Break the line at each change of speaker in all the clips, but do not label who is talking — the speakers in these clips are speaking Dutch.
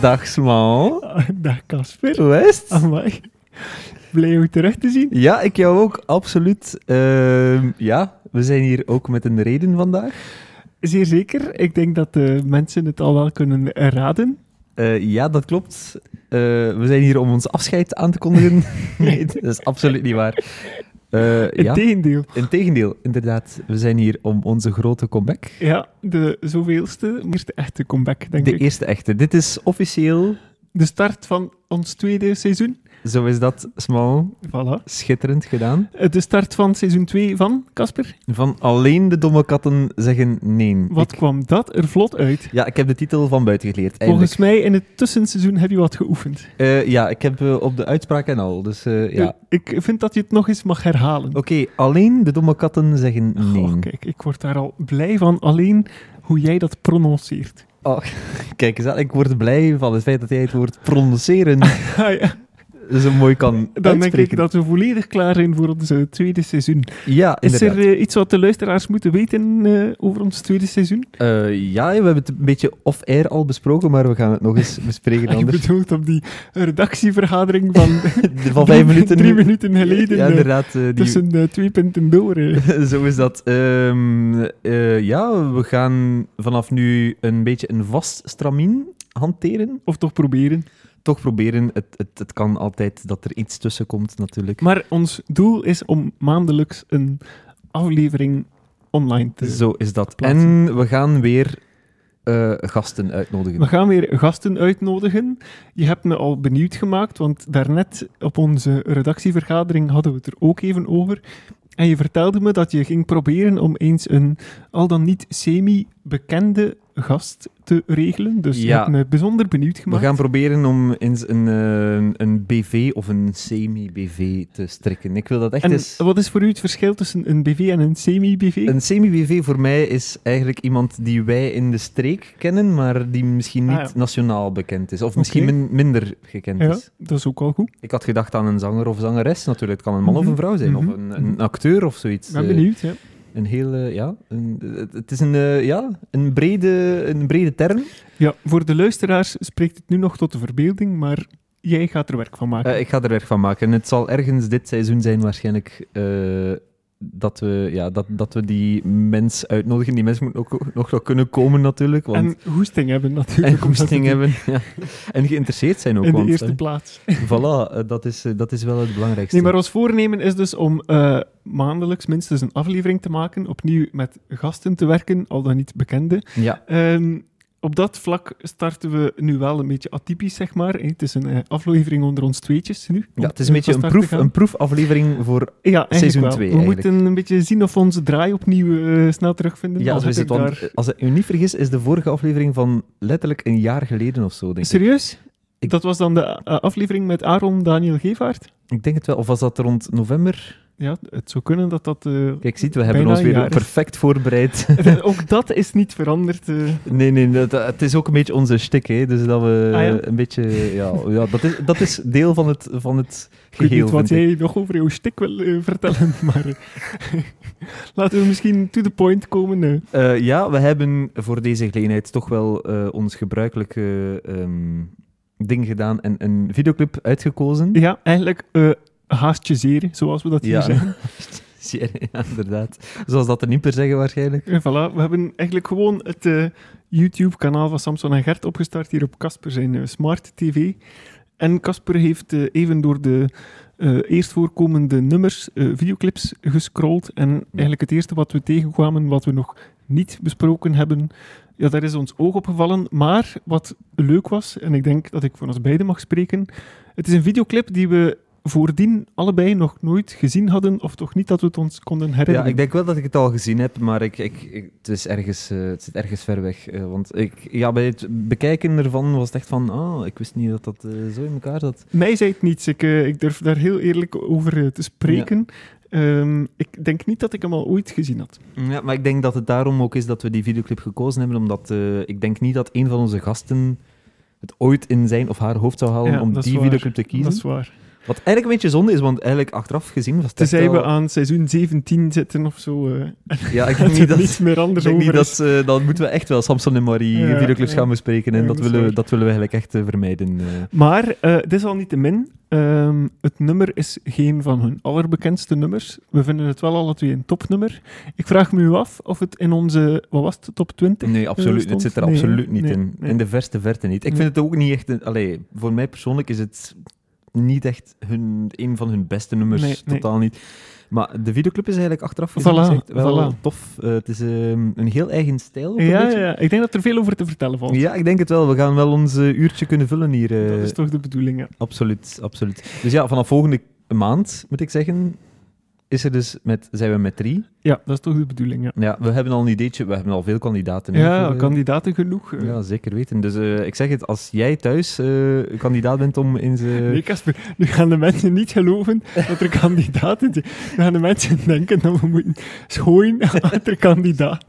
Dag Smal.
Dag Casper.
Hoe is het?
Amai. Blij om terug te zien.
Ja, ik jou ook, absoluut. Ehm, ja, we zijn hier ook met een reden vandaag.
Zeer zeker. Ik denk dat de mensen het al wel kunnen raden.
Eh, ja, dat klopt. Eh, we zijn hier om ons afscheid aan te kondigen. nee, dat is absoluut niet waar. Eh ja,
Integendeel.
integendeel, inderdaad. We zijn hier om onze grote comeback.
Ja, de zoveelste, eerste echte comeback, denk
De
ik.
eerste echte. Dit is officieel,
De start van ons tweede seizoen.
zo is dat, Smal,
Voilà.
schitterend gedaan.
Eh, De start van seizoen 2 van, Casper.
Van alleen de domme katten zeggen nee.
Wat
Ik-
kwam dat er vlot uit?
ja, ik heb de titel van buiten geleerd. Eindelijk.
Volgens mij in het tussenseizoen heb je wat geoefend.
Eh, ja, ik heb eh, op de uitspraak en al. Dus eh, ja.
Eh, Ik vind dat je het nog eens mag herhalen.
Oké, alleen de domme katten zeggen nee.
Goh, kijk, ik word daar al blij van. Alleen hoe jij dat prononceert.
Oh, kijk eens aan, ik word blij van het feit dat jij het woord prononceren
Ah, ja.
zo mooi kan
Dan denk
uitspreken.
ik dat we volledig klaar zijn voor ons eh, tweede seizoen.
Ja,
Is
inderdaad.
er eh, iets wat de luisteraars moeten weten eh, over ons tweede seizoen?
Eh, ja, we hebben het een beetje off-air al besproken, maar we gaan het nog eens bespreken
Ik
anders.
bedoel Ah, op die redactievergadering van,
Van vijf minuten...
drie minuten geleden.
Ja,
eh,
inderdaad. eh, die...
tussen de twee punten door. eh.
Zo is dat. Ehm, eh, ja, we gaan vanaf nu een beetje een vast stramien hanteren.
Of toch proberen.
toch proberen. Het, het, het kan altijd dat er iets tussen komt, natuurlijk.
Maar ons doel is om maandelijks een aflevering online te
Zo is dat.
plaatsen.
En we gaan weer eh, gasten uitnodigen.
We gaan weer gasten uitnodigen. Je hebt me al benieuwd gemaakt, want daarnet op onze redactievergadering hadden we het er ook even over. En je vertelde me dat je ging proberen om eens een al dan niet semi-bekende gast te regelen. Dus je
Ja.
hebt me bijzonder benieuwd
We
gemaakt.
gaan proberen om eens een, eh, een BV of een semi-BV te strikken. Ik wil dat echt
en
eens...
wat is voor u het verschil tussen een BV en een semi-BV?
Een semi-BV voor mij is eigenlijk iemand die wij in de streek kennen, maar die misschien niet
Ah, ja.
nationaal bekend is. Of misschien
Oké.
min- minder gekend
Ja,
is.
dat is ook al goed.
Ik had gedacht aan een zanger of zangeres natuurlijk. Het kan een man of
Mhm,
een vrouw zijn,
mhm,
of een,
mhm.
een acteur of zoiets.
Ik ben
eh,
benieuwd, ja.
Een hele, ja, een, het- het is een, eh, ja, een, brede, een brede term.
ja. Voor de luisteraars spreekt het nu nog tot de verbeelding, maar jij gaat er werk van maken.
Eh, ik ga er werk van maken. Het zal ergens dit seizoen zijn waarschijnlijk eh, dat, we, ja, dat, dat we die mens uitnodigen. Die mens moet ook nog wel kunnen komen natuurlijk. Want,
En hoesting hebben natuurlijk.
en
omdat het
goesting hebben. Ja. En geïnteresseerd zijn ook.
In de
want,
eerste
eh,
plaats.
voilà, eh, dat, is, eh, dat is wel het belangrijkste.
Nee, maar ons voornemen is dus om eh, maandelijks minstens een aflevering te maken. Opnieuw met gasten te werken, al dan niet bekende.
Ja,
Ehm, op dat vlak starten we nu wel een beetje atypisch, zeg maar. hè. Het is een eh, aflevering onder ons tweetjes nu. om
ja, het is een beetje
van
een,
start te
proef,
gaan.
een proefaflevering voor...
Ja, eigenlijk
seizoen
wel.
twee,
We
eigenlijk.
moeten een beetje zien of we onze draai opnieuw eh, snel terugvinden.
Ja,
Als
zo is het. Want, eh, als ik me niet vergis, is de vorige aflevering van letterlijk een jaar geleden of zo, denk ik.
Serieus?
Ik-
Dat was dan de eh, aflevering met Aaron Daniel Gevaert?
Ik denk het wel. Of was dat rond november?
Ja, het zou kunnen dat dat... eh,
Kijk, ziet, we hebben
Bijna
ons
een jaar
weer
is-
perfect voorbereid.
ook dat is niet veranderd. eh.
Nee, nee, dat, het is ook een beetje onze shtick, hè. Dus dat we
Ah, ja?
een beetje... Ja, ja dat, is, dat is deel van het, van het
Ik weet
geheel,
niet wat
vind ik.
jij nog over jouw stik wil eh, vertellen, maar eh, laten we misschien to the point komen. eh.
Eh, ja, we hebben voor deze gelegenheid toch wel eh, ons gebruikelijke ehm, ding gedaan en een videoclip uitgekozen.
ja, eigenlijk eh haast je zeer, zoals we dat hier
Ja.
zeggen.
Ja, inderdaad. Zoals dat de Niemper zeggen waarschijnlijk.
En Eh, voilà, we hebben eigenlijk gewoon het eh, YouTube-kanaal van Samson en Gert opgestart hier op Casper zijn eh, smart tv. En Casper heeft eh, even door de eh, eerst voorkomende nummers, eh, videoclips, gescrolld. En eigenlijk het eerste wat we tegenkwamen, wat we nog niet besproken hebben, ja, daar is ons oog op gevallen. Maar wat leuk was, en ik denk dat ik voor ons beiden mag spreken, het is een videoclip die we voordien allebei nog nooit gezien hadden, of toch niet dat we het ons konden herinneren.
Ja, ik denk wel dat ik het al gezien heb, maar ik, ik, ik- het, is ergens, eh, het zit ergens ver weg. eh, want ik, ja, bij het bekijken ervan was het echt van, ah, ik wist niet dat dat eh, zo in elkaar zat.
Mij zei het niets. Ik, eh, ik durf daar heel eerlijk over eh, te spreken. Ehm, ik denk niet dat ik hem al ooit gezien had.
Ja, maar ik denk dat het daarom ook is dat we die videoclip gekozen hebben, omdat eh, ik denk niet dat een van onze gasten het ooit in zijn of haar hoofd zou halen
Ja,
om
dat is
die
waar.
videoclip te kiezen.
Dat is waar.
Wat eigenlijk een beetje zonde is, want eigenlijk achteraf gezien was het echt
Tenzij we
wel-
aan seizoen 17 zitten of zo. eh,
Ja, ik
en
denk
er
niet dat...
niets meer
Ik
anders
denk
over
niet
is.
dat, ze- dan moeten we echt wel Samson en Marie
Ja,
videoclips
ja.
gaan bespreken. En
Ja,
dat,
dat is
willen we,
waar.
dat willen we eigenlijk echt eh, vermijden. eh.
Maar eh, dit is al niet te min. Ehm, het nummer is geen van hun allerbekendste nummers. We vinden het wel alle twee een topnummer. Ik vraag me nu af of het in onze, wat was het, top 20?
Nee, absoluut. Het
stond-
zit er
nee,
absoluut niet
nee,
in.
nee.
In de verste verte niet. Ik
Nee.
vind het ook niet echt... Een, allee, voor mij persoonlijk is het niet echt hun, een van hun beste nummers.
Nee, nee.
Totaal niet. Maar de videoclip is eigenlijk achteraf gezien
Voilà,
is echt wel
voilà.
tof. Eh, het is ehm, een heel eigen stijl. ook een
Ja,
beetje.
ja, ik denk dat er veel over te vertellen valt.
ja, ik denk het wel. We gaan wel ons eh, uurtje kunnen vullen hier. eh.
Dat is toch de bedoeling, ja.
Absoluut, absoluut. Dus ja, vanaf volgende maand, moet ik zeggen, is er dus met, zijn we met drie.
Ja, dat is toch de bedoeling, ja.
Ja, we hebben al een ideetje, we hebben al veel kandidaten. hè, voor,
Ja,
eh,
kandidaten genoeg. eh.
Ja, zeker weten. Dus eh, ik zeg het, als jij thuis eh, kandidaat bent om in
Nee,
ze...
Casper, nu gaan de mensen niet geloven dat er kandidaten zijn. Nu gaan de mensen denken dat we moeten schooien achter kandidaat.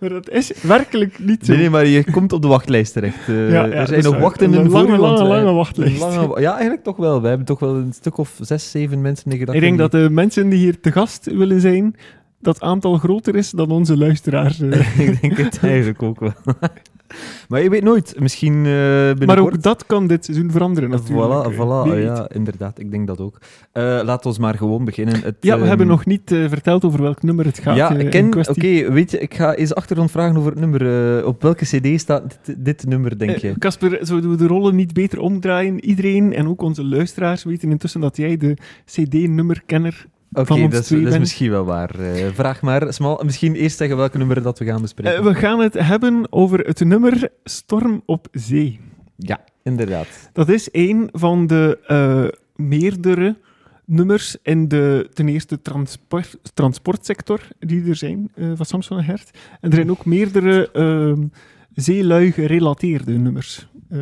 Maar dat is werkelijk niet zo.
Nee, nee, maar je komt op de wachtlijst terecht. Eh,
Ja, ja,
er
dat
zijn
is
nog
waar.
wachtenden
Een
voor
lange,
u, want,
lange,
eh,
lange wachtlijst.
een lange wa- ja, eigenlijk toch wel. We hebben toch wel een stuk of zes, zeven mensen in gedachten.
Ik denk dat
die-
de mensen die hier te gast willen zijn, dat aantal groter is dan onze luisteraars. eh.
ik denk het eigenlijk ook wel. maar je weet nooit, misschien eh binnenkort...
Maar ook dat kan dit seizoen veranderen natuurlijk.
Voilà,
eh.
voilà
Wie weet.
ja, inderdaad. Ik denk dat ook. Laten laat ons maar gewoon beginnen. Het,
Ja, we
ehm,
hebben nog niet eh, verteld over welk nummer het gaat.
Ja,
eh,
ik
in
ken... Oké,
kwestie.
weet je, ik ga eens achtergrond vragen over het nummer. eh, op welke cd staat dit, dit nummer, denk
Eh,
je?
Casper, zouden we de rollen niet beter omdraaien? Iedereen en ook onze luisteraars weten intussen dat jij de CD-nummerkenner.
Oké,
van ons
dat, is-
twee
dat is
bent-
misschien wel waar. Eh, vraag maar. Smal, misschien eerst zeggen welke nummer dat we gaan bespreken.
Eh, we gaan het hebben over het nummer Storm op Zee.
Ja, inderdaad.
Dat is een van de eh, meerdere nummers in de ten eerste transpor- transportsector die er zijn eh, van Samson en Hert. En er zijn ook meerdere ehm zeelui gerelateerde nummers. Eh,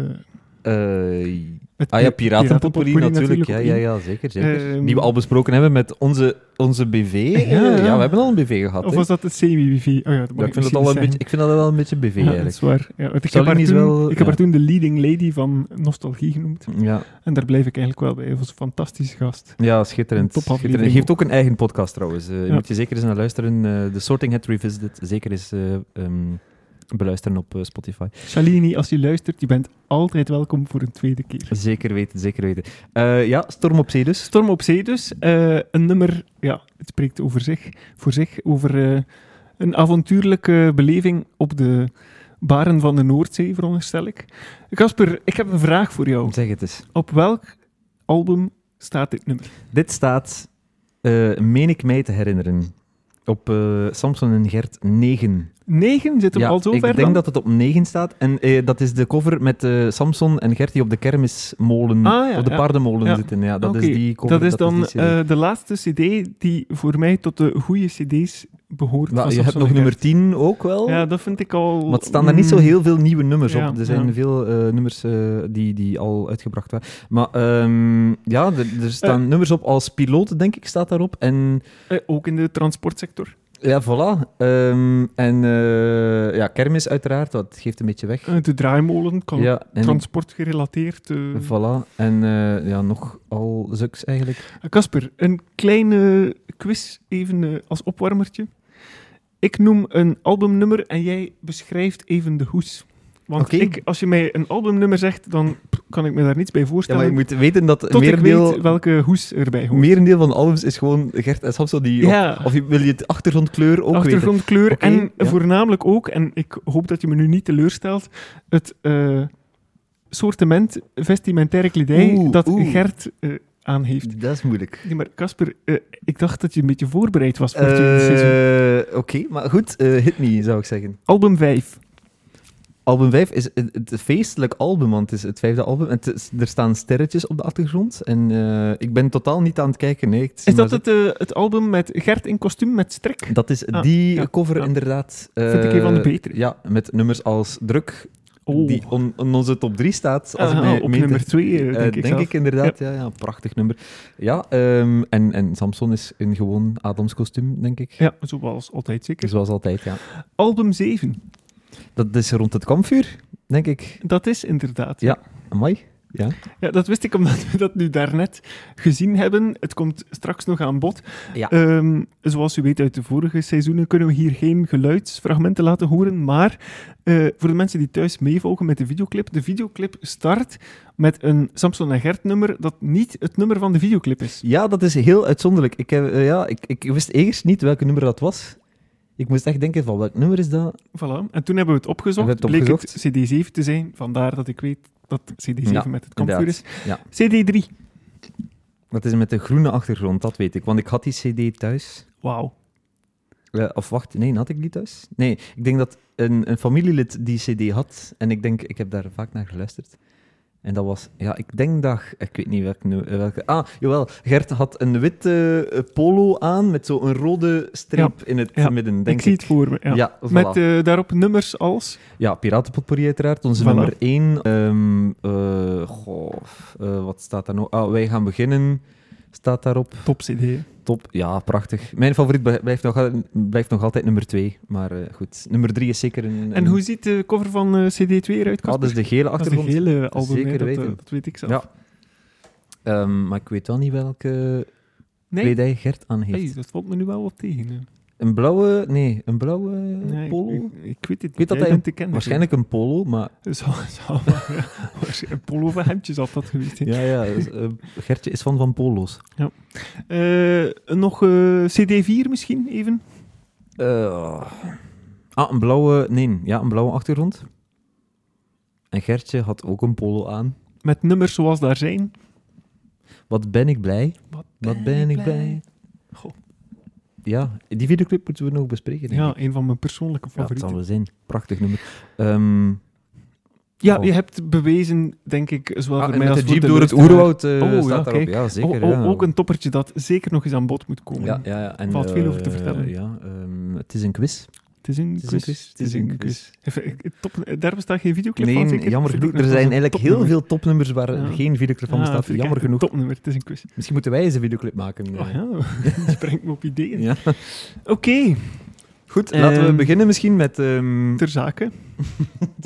Eh,
met
ah ja,
pi-
Piratenpopuli natuurlijk. Ja,
ook
ja,
in.
ja, zeker. zeker.
Ehm,
Die we al besproken hebben met onze, onze BV. Eh,
Ja,
Ja,
ja.
we hebben al een BV gehad.
Of
hè.
was dat het CWV? Oh ja, dat mag
ja, ik, vind
misschien
dat al
niet
een beetje,
zeggen.
ik vind dat wel een beetje BV
Ja, dat
eigenlijk.
is waar. Ja, want ik heb,
Zou
haar
die
toen,
niet wel-
ik heb
ja.
haar toen de leading lady van Nostalgie genoemd.
Ja,
En daar blijf ik eigenlijk wel bij. Hij was een fantastische gast.
Ja, schitterend.
Topaflevering
schitterend. Hij heeft ook een eigen podcast trouwens. Eh, Je
Ja.
moet je zeker eens naar luisteren. Eh, De Sorting Hat Revisited. Zeker eens eh, ehm, beluisteren op eh, Spotify.
Shalini, als je luistert, je bent altijd welkom voor een tweede keer.
Zeker weten, zeker weten. Eh, ja, Storm op Zee dus.
Storm op Zee dus. Eh, een nummer, ja, het spreekt over zich, voor zich over eh, een avontuurlijke beleving op de baren van de Noordzee, veronderstel ik. Casper, ik heb een vraag voor jou.
Oh, Zeg het eens.
Op welk album staat dit nummer?
Dit staat, eh, meen ik mij te herinneren, op eh, Samson en Gert 9.
9 zit hem
Ja,
al zo
ik
ver
denk
dan?
dat het op 9 staat. En eh, dat is de cover met eh, Samson en Gert die op de kermismolen,
Ah, ja,
op de
ja.
paardenmolen
Ja.
zitten. Ja, dat
Oké,
is die cover.
Dat is dan
die CD.
eh, de laatste CD die voor mij tot de goede CD's behoort.
Maar
van
Nou, je hebt
Samson
nog
en
nummer
Gert.
10 ook wel.
Ja, dat vind ik al.
Maar het staan daar niet zo
Mm,
heel veel nieuwe nummers
Ja,
op. Er zijn
ja.
veel eh, nummers eh, die, die al uitgebracht waren. Maar ehm, ja, er, er staan nummers op als piloot, denk ik, staat daarop. En
eh, ook in de transportsector.
ja, voilà. Ehm, en eh, ja, kermis uiteraard, dat geeft een beetje weg.
Eh, de draaimolen kan
ja, en
transport gerelateerd. eh.
voilà. En eh, ja, nog al zuks eigenlijk.
Eh, Casper, een kleine quiz even eh, als opwarmertje. Ik noem een albumnummer en jij beschrijft even de hoes. Want
Oké.
ik, als je mij een albumnummer zegt, dan pff, kan ik me daar niets bij
Ja,
voorstellen.
maar je moet weten dat het
tot ik
merendeel,
weet welke hoes erbij hoort.
merendeel van de albums is gewoon Gert en Samson die...
ja.
Of je- wil je het achtergrondkleur ook weten?
achtergrondkleur.
Oké,
en
ja.
voornamelijk ook, en ik hoop dat je me nu niet teleurstelt, het eh, sortiment vestimentaire kledij
Oeh,
dat
oeh.
Gert eh, aan heeft.
Dat is moeilijk.
Nee, maar Casper, eh, ik dacht dat je een beetje voorbereid was voor dit seizoen.
Eh, Oké, maar goed, eh, hit me, zou ik zeggen.
Album 5.
Album 5 is het, het feestelijk album, want het is het vijfde album. Het is- er staan sterretjes op de achtergrond. En eh, ik ben totaal niet aan het kijken. Nee, Ik zie
Is dat
maar
het, eh, het album met Gert in kostuum met strik?
zo- Dat is
Ah,
die
ja,
cover
ja.
inderdaad.
Vind ik een van de
Eh,
betere.
Ja, met nummers als Druk,
Oh,
die on, in onze top 3 staat. Als ik
Ah,
mij
op
meen te-
nummer 2,
Eh,
denk ik zelf.
inderdaad, ja. Ja, een prachtig nummer. Ja, ehm, en, en Samson is in gewoon Adams kostuum, denk ik.
Ja, zoals altijd zeker.
Zoals altijd, ja.
Album 7.
Dat is rond het kampvuur, denk ik.
Dat is inderdaad.
Ja. Amai. Ja?
Ja, dat wist ik omdat we dat nu daarnet gezien hebben. Het komt straks nog aan bod.
Ja.
Ehm, zoals u weet uit de vorige seizoenen kunnen we hier geen geluidsfragmenten laten horen. Maar eh, voor de mensen die thuis meevolgen met de videoclip, de videoclip start met een Samson en Gert nummer dat niet het nummer van de videoclip is.
Ja, dat is heel uitzonderlijk. Ik, heb, eh, ja, ik, ik wist eerst niet welk nummer dat was. Ik moest echt denken van, welk nummer is dat?
Voilà. En toen hebben we het opgezocht.
Hebben we het
bleek
opgezocht?
het CD7 te zijn. Vandaar dat ik weet dat CD7
Ja,
met het kampvuur is.
Ja.
CD3.
Dat is met de groene achtergrond, dat weet ik. Want ik had die cd thuis.
Wauw.
Eh, of wacht, nee, had ik die thuis? Nee, ik denk dat een, een familielid die cd had. En ik denk, ik heb daar vaak naar geluisterd. En dat was, ja, ik denk dat, ik weet niet welk, nu- eh, welke... Ah, jawel, Gert had een witte eh, polo aan met zo'n rode streep in het
ja.
midden, denk
Ik
ik.
zie het voor me. Ja.
Ja, voilà.
Met eh, daarop nummers als...
Ja, Piratenpotpourri uiteraard. Onze
Voilà.
nummer 1. goh, eh, wat staat daar nog? Ah, wij gaan beginnen. Staat daarop.
Top CD.
Top. Ja, prachtig. Mijn favoriet bl- blijft nog, al- blijft nog altijd nummer 2. Maar eh, goed, nummer 3 is zeker een...
En
een-
hoe ziet de cover van eh, CD2
Ah,
eruit,
dat
Casper?
is de gele
dat is de
achtergrond.
hele album,
zeker
hè, dat, eh,
weten.
dat weet ik zelf.
Ja. Ehm, maar ik weet wel niet welke
Nee,
kledij Gert aan heeft.
hey, dat valt me nu wel wat tegen. hè.
Een blauwe... Nee, een blauwe
Nee, ik-
polo?
Ik, ik weet het niet.
weet dat
Jij
hij
bent de kenner.
Waarschijnlijk een polo, maar...
Zal, zal, ja, waarschijnlijk een polo van hemdjes had dat geweest. hè.
Ja, ja. dus, eh, Gertje is van van polo's.
Eh, nog eh, CD4 misschien even?
Eh, ah, een blauwe... Nee, ja, een blauwe achtergrond. En Gertje had ook een polo aan.
Met nummers zoals daar zijn.
Wat ben ik blij.
Wat
Wat ben ik blij.
Goh.
Ja, die videoclip moeten we nog bespreken. denk ik.
Ja, een van mijn persoonlijke
ja dat zal
favorieten.
wel zijn. Prachtig nummer. Ehm,
Ja,
Oh.
je hebt bewezen, denk ik, zowel
ah,
voor
en
mij
met
als
de
voor
jeep
de
door het
luisteraar.
oerwoud eh,
Oh, ja,
staat daarop.
kijk.
Ja, zeker.
Oh, oh,
ja.
Ook een toppertje dat zeker nog eens aan bod moet komen.
Ja, ja, ja. En,
Valt veel
eh,
over te vertellen.
Ja, ehm, het is een quiz.
Het is een
Het is een
quiz.
quiz,
Het is een quiz. Even, eh, top- Daar bestaat geen videoclip van,
nee,
zeker?
jammer
Vind ik
genoeg.
nog
Er
wel
zijn
een
eigenlijk heel
topnummer.
veel topnummers waar
Ja.
geen videoclip van
Ah,
bestaat.
vind ik
jammer
echt een
genoeg.
Topnummer, het is een quiz.
Misschien moeten wij eens een videoclip maken. eh.
Oh ja, die brengt me op ideeën.
Ja.
Oké,
Goed, laten we
Ehm,
beginnen misschien met... ehm ter,
ter zake.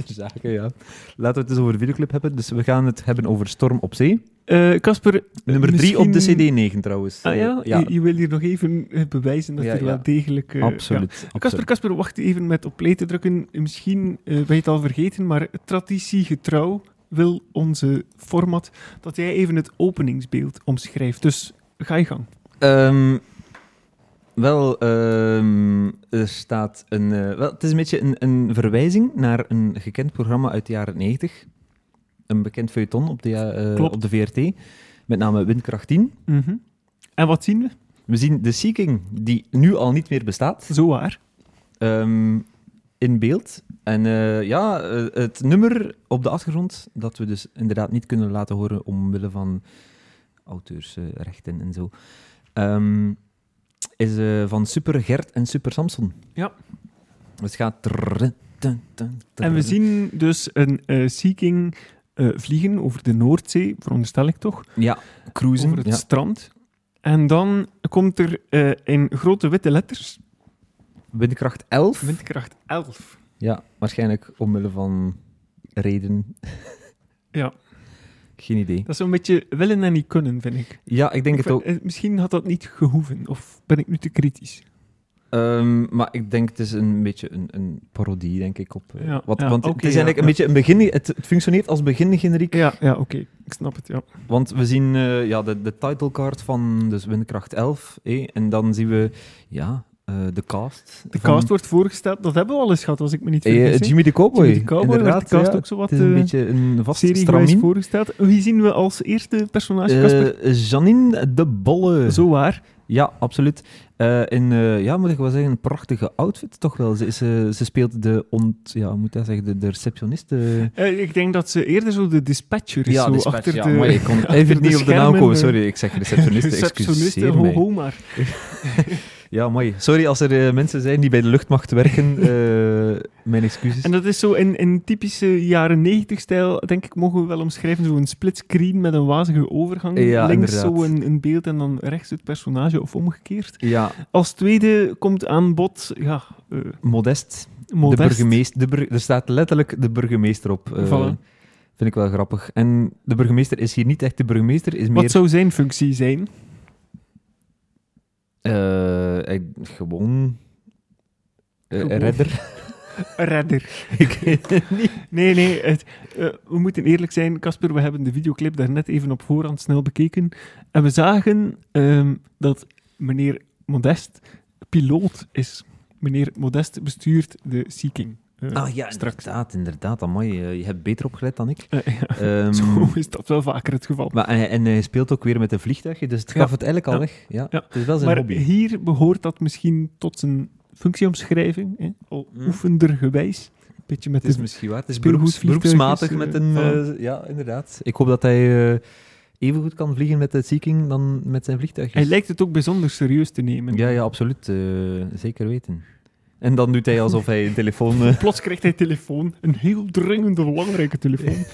zake, ja. Laten we het eens over de videoclip hebben. Dus we gaan het hebben over Storm op Zee.
Eh, Casper,
Nummer 3
misschien-
op de CD9 trouwens.
Ah ja,
ja
Je, je wil hier nog even eh, bewijzen dat
Ja,
er wel
ja.
degelijk... eh, ja.
absoluut.
Casper,
absoluut.
Casper, wacht even met op play te drukken. Misschien eh, ben je het al vergeten, maar traditiegetrouw wil onze format dat jij even het openingsbeeld omschrijft. Dus ga je gang.
Ehm, wel, ehm, er staat een... eh, wel, het is een beetje een, een verwijzing naar een gekend programma uit de jaren 90. Een bekend feuilleton op de, ja- eh,
Klopt.
op de VRT. Met name Windkracht 10.
Mhm. En wat zien we?
We zien de Sea King, die nu al niet meer bestaat.
Zo waar.
ehm, in beeld. En eh, ja, eh, het nummer op de achtergrond, dat we dus inderdaad niet kunnen laten horen omwille van auteursrechten en zo, ehm, is eh, van Super Gert en Super Samson.
Ja.
Dus het gaat... trrr, tun, tun,
En we
trrr.
zien dus een eh Sea King eh, vliegen over de Noordzee, veronderstel ik toch,
Ja, cruisen.
over het
ja.
strand. En dan komt er eh, in grote witte letters
Windkracht 11.
windkracht 11.
Ja, waarschijnlijk omwille van reden.
Ja.
Geen idee.
Dat is zo'n beetje willen en niet kunnen, vind ik.
Ja, ik denk
Ik
het ook.
vind- eh, Misschien had dat niet gehoeven, of ben ik nu te kritisch?
Ehm, maar ik denk het is een beetje een, een parodie, denk ik. Op, eh,
Ja,
wat,
ja,
want
oké,
het is
ja,
eigenlijk een
ja.
beetje een begin... Het, het functioneert als begingeneriek.
Ja, ja oké. Ik snap het, ja.
Want we zien eh, ja, de, de titlecard van dus Windkracht 11. eh, en dan zien we ja, eh, de cast.
De
van-
cast wordt voorgesteld, dat hebben we al eens gehad, als ik me niet
Eh,
vergis. hè.
Jimmy de Cowboy.
Jimmy de Cowboy werd de
Inderdaad,
cast
ja,
ook zo wat
het is een
eh,
beetje een vast
seriegewijs
stramien.
voorgesteld. Wie zien we als eerste personage, Casper?
Eh, Janine de Bolle.
Zo waar.
Ja, absoluut. Eh, in, eh, ja, moet ik wel zeggen, een prachtige outfit toch wel. Ze, is, eh, ze speelt de, ont, ja, hoe moet dat zeggen, de, de receptionist. de-
Eh, ik denk dat ze eerder zo de dispatcher is. zo achter de,
maar ik kon
achter
even
de
niet op de naam
schermen,
komen.
eh,
Sorry, ik zeg receptioniste,
receptioniste,
excuseer
eh, ho,
mij.
ho maar.
Ja, mooi. Sorry als er eh, mensen zijn die bij de luchtmacht werken. eh, mijn excuses.
En dat is zo in, in typische jaren negentig stijl, denk ik, mogen we wel omschrijven. Zo'n splitscreen met een wazige overgang.
Ja,
Links
inderdaad.
zo een, een beeld en dan rechts het personage, of omgekeerd.
Ja,
Als tweede komt aan bod, ja, eh
modest.
Modest.
De burgemeester. De bur- er staat letterlijk de burgemeester op. eh,
Voilà.
Vind ik wel grappig. En de burgemeester is hier niet echt de burgemeester, is meer...
Wat zou zijn functie zijn?
eh, hij- gewoon... eh,
Gewoon.
redder.
Redder.
ik weet het niet.
Nee, nee. Het, eh, we moeten eerlijk zijn, Casper. We hebben de videoclip daarnet even op voorhand snel bekeken. En we zagen ehm, dat meneer Modest piloot is. Meneer Modest bestuurt de Seeking. Eh,
Ah ja,
straks.
inderdaad, inderdaad. Amai, eh, je hebt beter opgelet dan ik.
eh, ja.
Ehm,
Zo is dat wel vaker het geval.
maar, en, en hij speelt ook weer met een vliegtuigje, dus het gaf
Ja.
het eigenlijk al
Ja.
weg. Ja.
Ja.
Het is wel zijn
Maar
hobby.
hier behoort dat misschien tot zijn functieomschrijving, hè? al
Hmm.
oefendergewijs. Een beetje met
Het is
de-
misschien waar. Het is
speelgoed
beroeps,
vliegtuig
beroepsmatig
is,
met
eh,
een...
voilà.
eh, ja, inderdaad. Ik hoop dat hij eh, even evengoed kan vliegen met de Seeking dan met zijn vliegtuigjes.
Hij lijkt het ook bijzonder serieus te nemen.
Ja, ja, absoluut. eh, zeker weten. En dan doet hij alsof hij een telefoon... eh,
Plots krijgt hij telefoon, een heel dringende, belangrijke telefoon.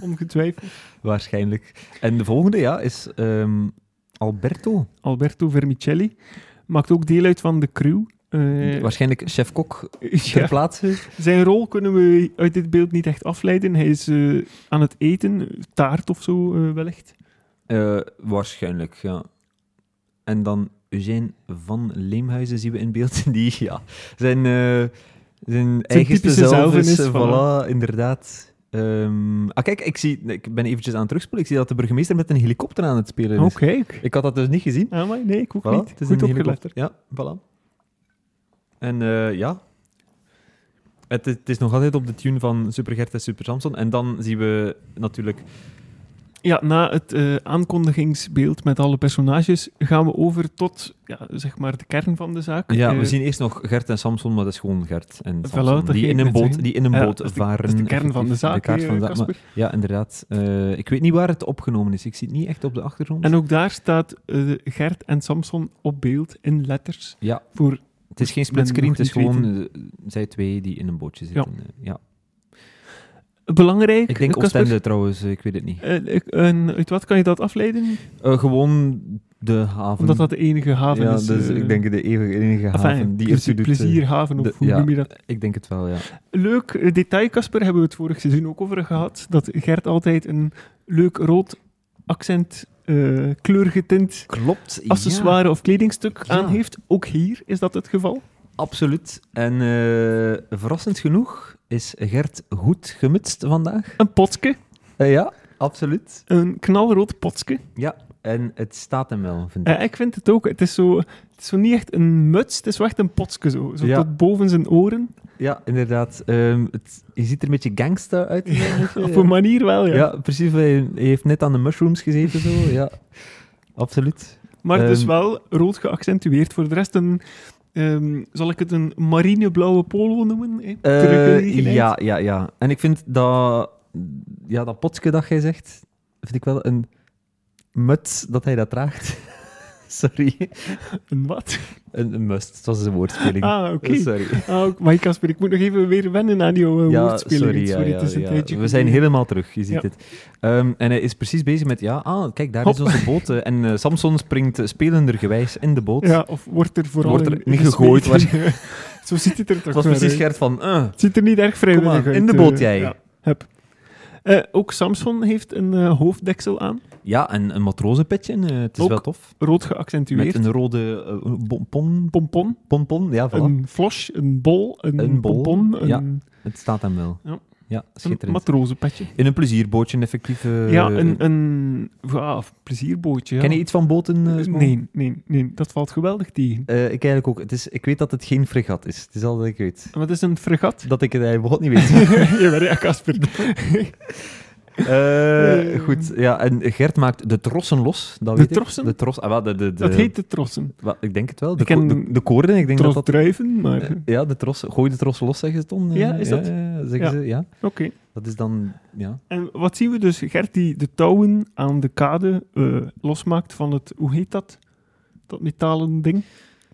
Ongetwijfeld.
waarschijnlijk. En de volgende, ja, is ehm, Alberto.
Alberto Vermicelli maakt ook deel uit van de crew. Eh,
waarschijnlijk chef-kok ter
ja.
plaatse.
Zijn rol kunnen we uit dit beeld niet echt afleiden. Hij is eh, aan het eten, taart of zo eh, wellicht.
Eh, waarschijnlijk, ja. En dan Eugène van Leemhuizen zien we in beeld. Die, ja, zijn, eh, zijn eigenste
typische
zelf is.
zelf
eh,
is,
voilà, inderdaad. Ehm, ah, kijk, ik, zie, ik ben eventjes aan het terugspoelen. Ik zie dat de burgemeester met een helikopter aan het spelen is.
Oh, kijk.
Ik had dat dus niet gezien.
Ah, maar nee, ik ook
Ah, Voilà,
niet.
het is
Goed
een
opgelet.
helikopter. Ja, voilà. En eh, ja... Het, het is nog altijd op de tune van Super Gert en Super Samson. En dan zien we natuurlijk...
Ja, na het eh, aankondigingsbeeld met alle personages gaan we over tot ja, zeg maar de kern van de zaak.
Ja,
Eh,
we zien eerst nog Gert en Samson, maar dat is gewoon Gert en
Voilà,
Samson.
dat
die,
ging
in
ik
een
net
boot,
zeggen.
die in een
Ja,
boot
dat is de-
varen.
dat is de kern van de
effectief,
zaak.
de kaart
eh,
van de zaak.
Casper.
Maar- ja, inderdaad. Eh, ik weet niet waar het opgenomen is. Ik zie het niet echt op de achtergrond.
En ook daar staat eh, Gert en Samson op beeld in letters.
Ja.
Voor,
het is geen
ik ben
splitscreen,
nog
het is
niet
gewoon eh, zij twee die in een bootje zitten. Eh, Ja.
belangrijk,
Ik denk
Casper,
Oostende trouwens, eh, ik weet het niet.
eh, ik- en uit wat kan je dat afleiden?
Eh, gewoon de haven.
Omdat dat de enige haven
ja,
is.
dus
eh,
ik denk de eeuwige enige
enfin, dus
haven die
plezier,
ertoe doet, eh,
plezierhaven, of
de-
hoe
ja.
noem je dat?
Ik denk het wel, ja.
Leuk eh, detail, Casper, hebben we het vorig seizoen ook over gehad. Dat Gert altijd een leuk rood accent, eh kleurgetint
Klopt.
accessoire of kledingstuk
Ja.
aan heeft. Ook hier is dat het geval.
Absoluut. En eh, verrassend genoeg is Gert goed gemutst vandaag.
Een potske,
Eh, ja, absoluut.
een knalrood potske.
En het staat hem wel, vind ik.
Eh, ik vind het ook. Het is, zo, het is zo niet echt een muts, het is wel echt een potske zo. zo
Ja.
Tot boven zijn oren.
Ja, inderdaad. Ehm, het, je ziet er een beetje gangsta uit. moet je-
Op een manier wel, ja.
ja. precies. Hij, hij heeft net aan de mushrooms gezeten, zo. Ja, absoluut.
Maar dus
Ehm.
wel rood geaccentueerd. Voor de rest een... ehm, zal ik het een marineblauwe polo noemen? Eh?
Eh,
Ter gelegenheid.
ja, ja, ja. En ik vind dat... Ja, dat potske dat jij zegt, vind ik wel een muts dat hij dat draagt. Sorry.
Een wat?
Een, een must, het was een woordspeling.
Ah, oké.
Sorry.
Ah, ook- maar Casper, ik moet nog even weer wennen aan jouw eh,
Dus, eh, Ja,
woordspeling.
sorry. ja, ja,
het is een
ja.
tijdje
We zijn
geleden.
helemaal terug, je ziet
Ja.
het. Ehm, en hij is precies bezig met, ja, ah, kijk, daar is
Hop.
onze boot. eh, En eh, Samson springt eh, spelendergewijs in de boot.
Ja, of wordt er vooral
Wordt er
in
in gegooid,
gesmeten. zo ziet het er toch
Het was
naar
precies
uit.
Gert van, eh,
Het ziet er niet erg
kom
vrijwillig
aan,
uit.
in de
eh,
boot jij.
ja.
Ja,
Eh, ook Samson heeft een eh, hoofddeksel aan,
en een matrozenpetje, eh, het is
Ook
wel tof.
rood
Met
geaccentueerd.
een rode eh, bonpon,
pompon,
ponpon, ja, voilà.
een flosh, een bol, een,
Een bol,
pompon, een,
ja. Het staat hem wel.
Ja.
Ja,
een
schitterend.
matrozenpetje.
in een plezierbootje, effectief. eh,
ja, een, een ja, of plezierbootje. Ja.
Ken je iets van boten? eh, Simon?
nee, nee, nee, dat valt geweldig tegen.
Eh, ik eigenlijk ook. Het is, ik weet dat het geen fregat is. Het is al dat ik weet.
Wat is een fregat?
Dat ik het eigenlijk ook niet weet.
Jawel, ja, Casper.
Eh,
Eh.
goed, ja, en Gert maakt de trossen los. Dat
De
weet ik.
trossen?
De tros, ah, wel, de, de, de-
Dat heet de trossen.
wel, ik denk het wel. De,
Ik ken-
ko- de, de koorden, ik denk
Tros
dat dat...
druiven, maar... eh,
Ja, de tros, gooi de tros los, zeggen ze dan. eh,
Ja, is dat?
Ja, zeggen
Ja.
ze, ja.
Oké.
Dat is dan, ja.
En wat zien we dus? Gert die de touwen aan de kade eh, losmaakt van het... Hoe heet dat? Dat metalen ding?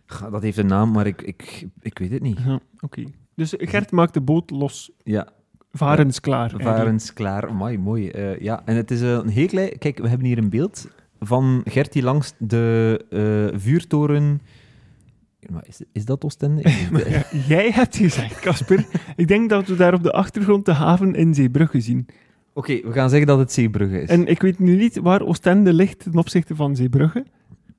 Ga, Dat heeft een naam, maar ik, ik, ik weet het niet.
Ja, oké. Dus Gert maakt de boot los.
Ja,
Varens klaar. eigenlijk.
varens klaar. Mooi, mooi. Eh, ja, en het is een heel klein... Kijk, we hebben hier een beeld van Gert die langs de eh, vuurtoren... Maar is, is dat Oostende? Ik weet het
Ja, jij hebt gezegd, Casper. ik denk dat we daar op de achtergrond de haven in Zeebrugge zien.
we gaan zeggen dat het Zeebrugge is.
En ik weet nu niet waar Oostende ligt ten opzichte van Zeebrugge.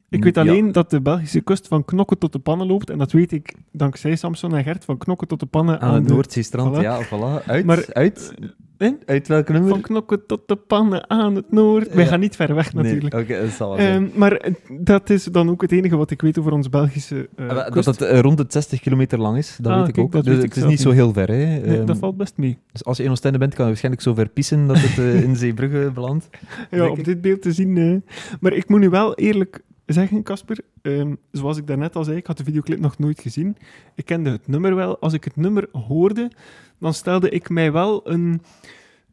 Ik weet
Ja.
alleen dat de Belgische kust van knokken tot de pannen loopt. En dat weet ik dankzij Samson en Gert van knokken tot de pannen.
Aan het
de-
Noordzeestrand,
Oh, Voilà.
ja, voilà. Uit,
Maar- eh,
uit, in, uit welk nummer?
Van knokken tot de pannen aan het noord. Wij
Ja.
gaan niet ver weg
Nee,
natuurlijk.
Oké, dat zal wel zijn.
Ehm, maar eh, dat is dan ook het enige wat ik weet over ons Belgische eh,
Eh, wel,
kust.
dat het eh, rond het 60 kilometer lang is, dat
Ah,
weet ik
kijk,
ook.
dat
dus
weet ik
het is
zelf
niet zo heel ver. Hè.
Nee,
Ehm,
dat valt best mee.
dus als je in Oostende bent, kan je waarschijnlijk zo ver pissen dat het eh, in Zeebrugge belandt.
Ja,
denk
op
ik.
dit beeld te zien. eh. Maar ik moet nu wel eerlijk zeggen, Casper. ehm, zoals ik daarnet al zei, ik had de videoclip nog nooit gezien. Ik kende het nummer wel. Als ik het nummer hoorde, dan stelde ik mij wel een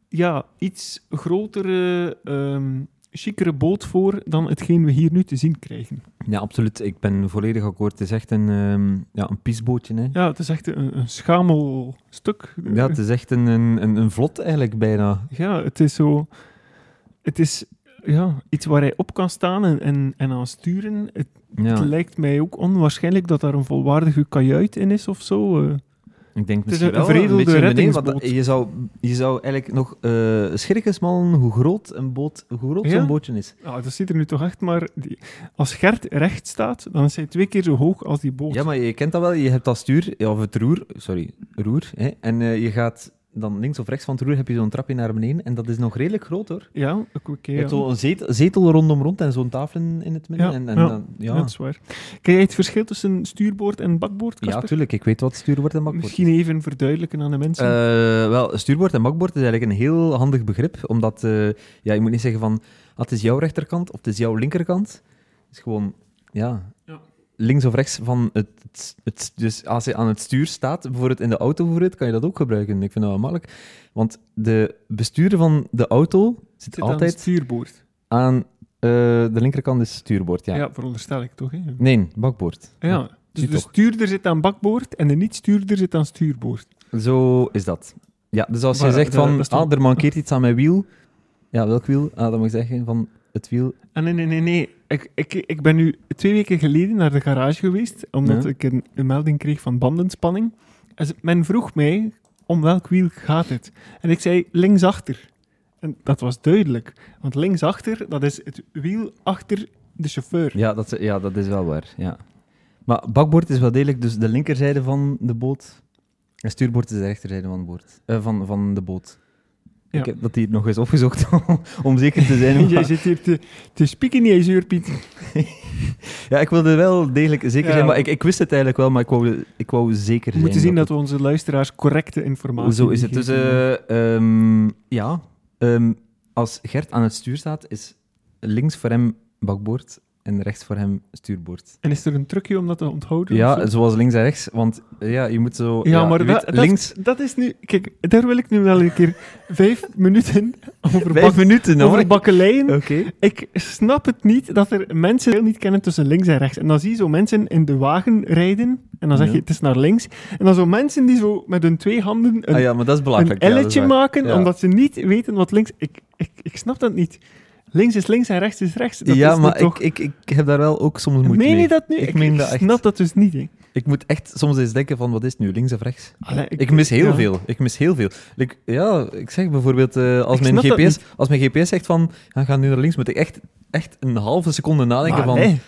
ja, iets grotere, ehm chicere boot voor dan hetgeen we hier nu te zien krijgen.
Ja, absoluut. Ik ben volledig akkoord. Het is echt een, ehm ja, een piesbootje. Hè.
Ja, het is echt een, een schamel stuk.
Ja, het is echt een, een, een, een vlot eigenlijk bijna.
Ja, het is zo. Het is ja, iets waar hij op kan staan en, en, en aan sturen. Het,
Ja,
het lijkt mij ook onwaarschijnlijk dat daar een volwaardige kajuit in is of zo. eh.
ik denk
het is
misschien
een
wel eh,
veredelde
beetje beneden, want eh,
reddingsboot.
je zou, je zou eigenlijk nog eh schrikken smallen hoe groot, een boot, hoe groot
Ja?
zo'n bootje is.
Ah, dat ziet er nu toch echt maar. Die, als Gert recht staat, dan is hij twee keer zo hoog als die boot.
Ja, maar je kent dat wel. Je hebt dat stuur, ja, of het roer, sorry, roer. Hè, en eh, je gaat dan links of rechts van het roer heb je zo'n trapje naar beneden. En dat is nog redelijk groot hoor.
Ja, ook een
Je
keer.
hebt zo'n zetel, zetel rondom rond en zo'n tafel in, in het midden.
Ja,
en, en
ja.
Dan,
ja.
ja.
Dat is waar. Ken jij het verschil tussen stuurboord en bakboord?
Ja,
Casper?
tuurlijk. Ik weet wat stuurwoord en bakboord is.
Misschien even verduidelijken aan de mensen.
Eh, wel, stuurboord en bakboord is eigenlijk een heel handig begrip. Omdat eh, ja, je moet niet zeggen van ah, het is jouw rechterkant of het is jouw linkerkant. Het is gewoon ja,
Ja.
links of rechts van het, het, het- Dus als je aan het stuur staat, bijvoorbeeld in de auto voor het, kan je dat ook gebruiken. Ik vind dat wel makkelijk. Want de bestuurder van de auto zit,
Zit aan het
altijd
stuurboord.
aan, eh, de linkerkant is stuurboord. Ja.
Ja. veronderstel ik toch? Hè?
Nee, bakboord.
Ja. Dus
Zie
de
toch.
stuurder zit aan bakboord en de niet-stuurder zit aan stuurboord.
Zo is dat. Ja, dus als je
Maar
zegt
dat-
van,
dat is toch-
ah, er mankeert iets aan mijn wiel. Ja, welk wiel? Ah, dan moet je zeggen van het wiel.
Ah, nee, nee, nee, nee. Ik, ik, ik ben nu twee weken geleden naar de garage geweest, omdat
Ja.
ik een, een melding kreeg van bandenspanning. En ze- men vroeg mij om welk wiel gaat het. En ik zei linksachter. En dat was duidelijk. Want linksachter, dat is het wiel achter de chauffeur.
Ja, dat, is- ja, dat is wel waar. Ja. Maar bakboord is wel degelijk dus de linkerzijde van de boot. En stuurboord is de rechterzijde van, het boord, eh, van, van de boot.
Ja.
Ik heb dat hier nog eens opgezocht om zeker te zijn.
Jij
maar-
zit hier te, te spieken in je zuur, Piet.
ja, ik wilde wel degelijk zeker
Ja.
zijn, maar ik, ik wist het eigenlijk wel, maar ik wou, ik wou zeker
We
zijn.
moeten zien dat
het-
we onze luisteraars correcte informatie
Zo is het. Dus
geven.
eh, ehm, ja, ehm, als Gert aan het stuur staat, is links voor hem bakboord en rechts voor hem stuurboord.
En is er een trucje om dat te onthouden? of zo?
Ja, zoals links en rechts, want eh, ja, je moet zo...
Ja, maar
je
dat,
weet,
dat-
links...
Dat, is nu... Kijk, daar wil ik nu wel een keer vijf minuten over, bak,
Vijf minuten, hoor. Eh.
over bakkeleien.
Oké.
Ik snap het niet dat er mensen heel niet kennen tussen links en rechts. En dan zie je zo mensen in de wagen rijden. En dan zeg
Ja.
je, het is naar links. En dan zo mensen die zo met hun twee handen een,
Ah ja, maar dat is
een
belachelijk. ja, dat is
elletje
waar.
maken,
Ja.
omdat ze niet weten wat links... Ik, ik, ik snap dat niet. Links is links en rechts is rechts. Dat
ja,
is
maar
toch...
ik, ik, ik heb daar wel ook soms moeite
Meen
mee.
je dat nu?
Ik meen dat echt.
snap dat dus niet, hè.
Ik moet echt soms eens denken van, wat is het nu, links of rechts?
Allee,
Ik mis heel
ja.
veel. Ik mis heel veel. Ik, ja, ik zeg bijvoorbeeld, eh, als,
Ik
mijn
snap dat
GPS, als mijn GPS zegt van, ja, ga nu naar links, moet ik echt, echt een halve seconde nadenken
Maar nee.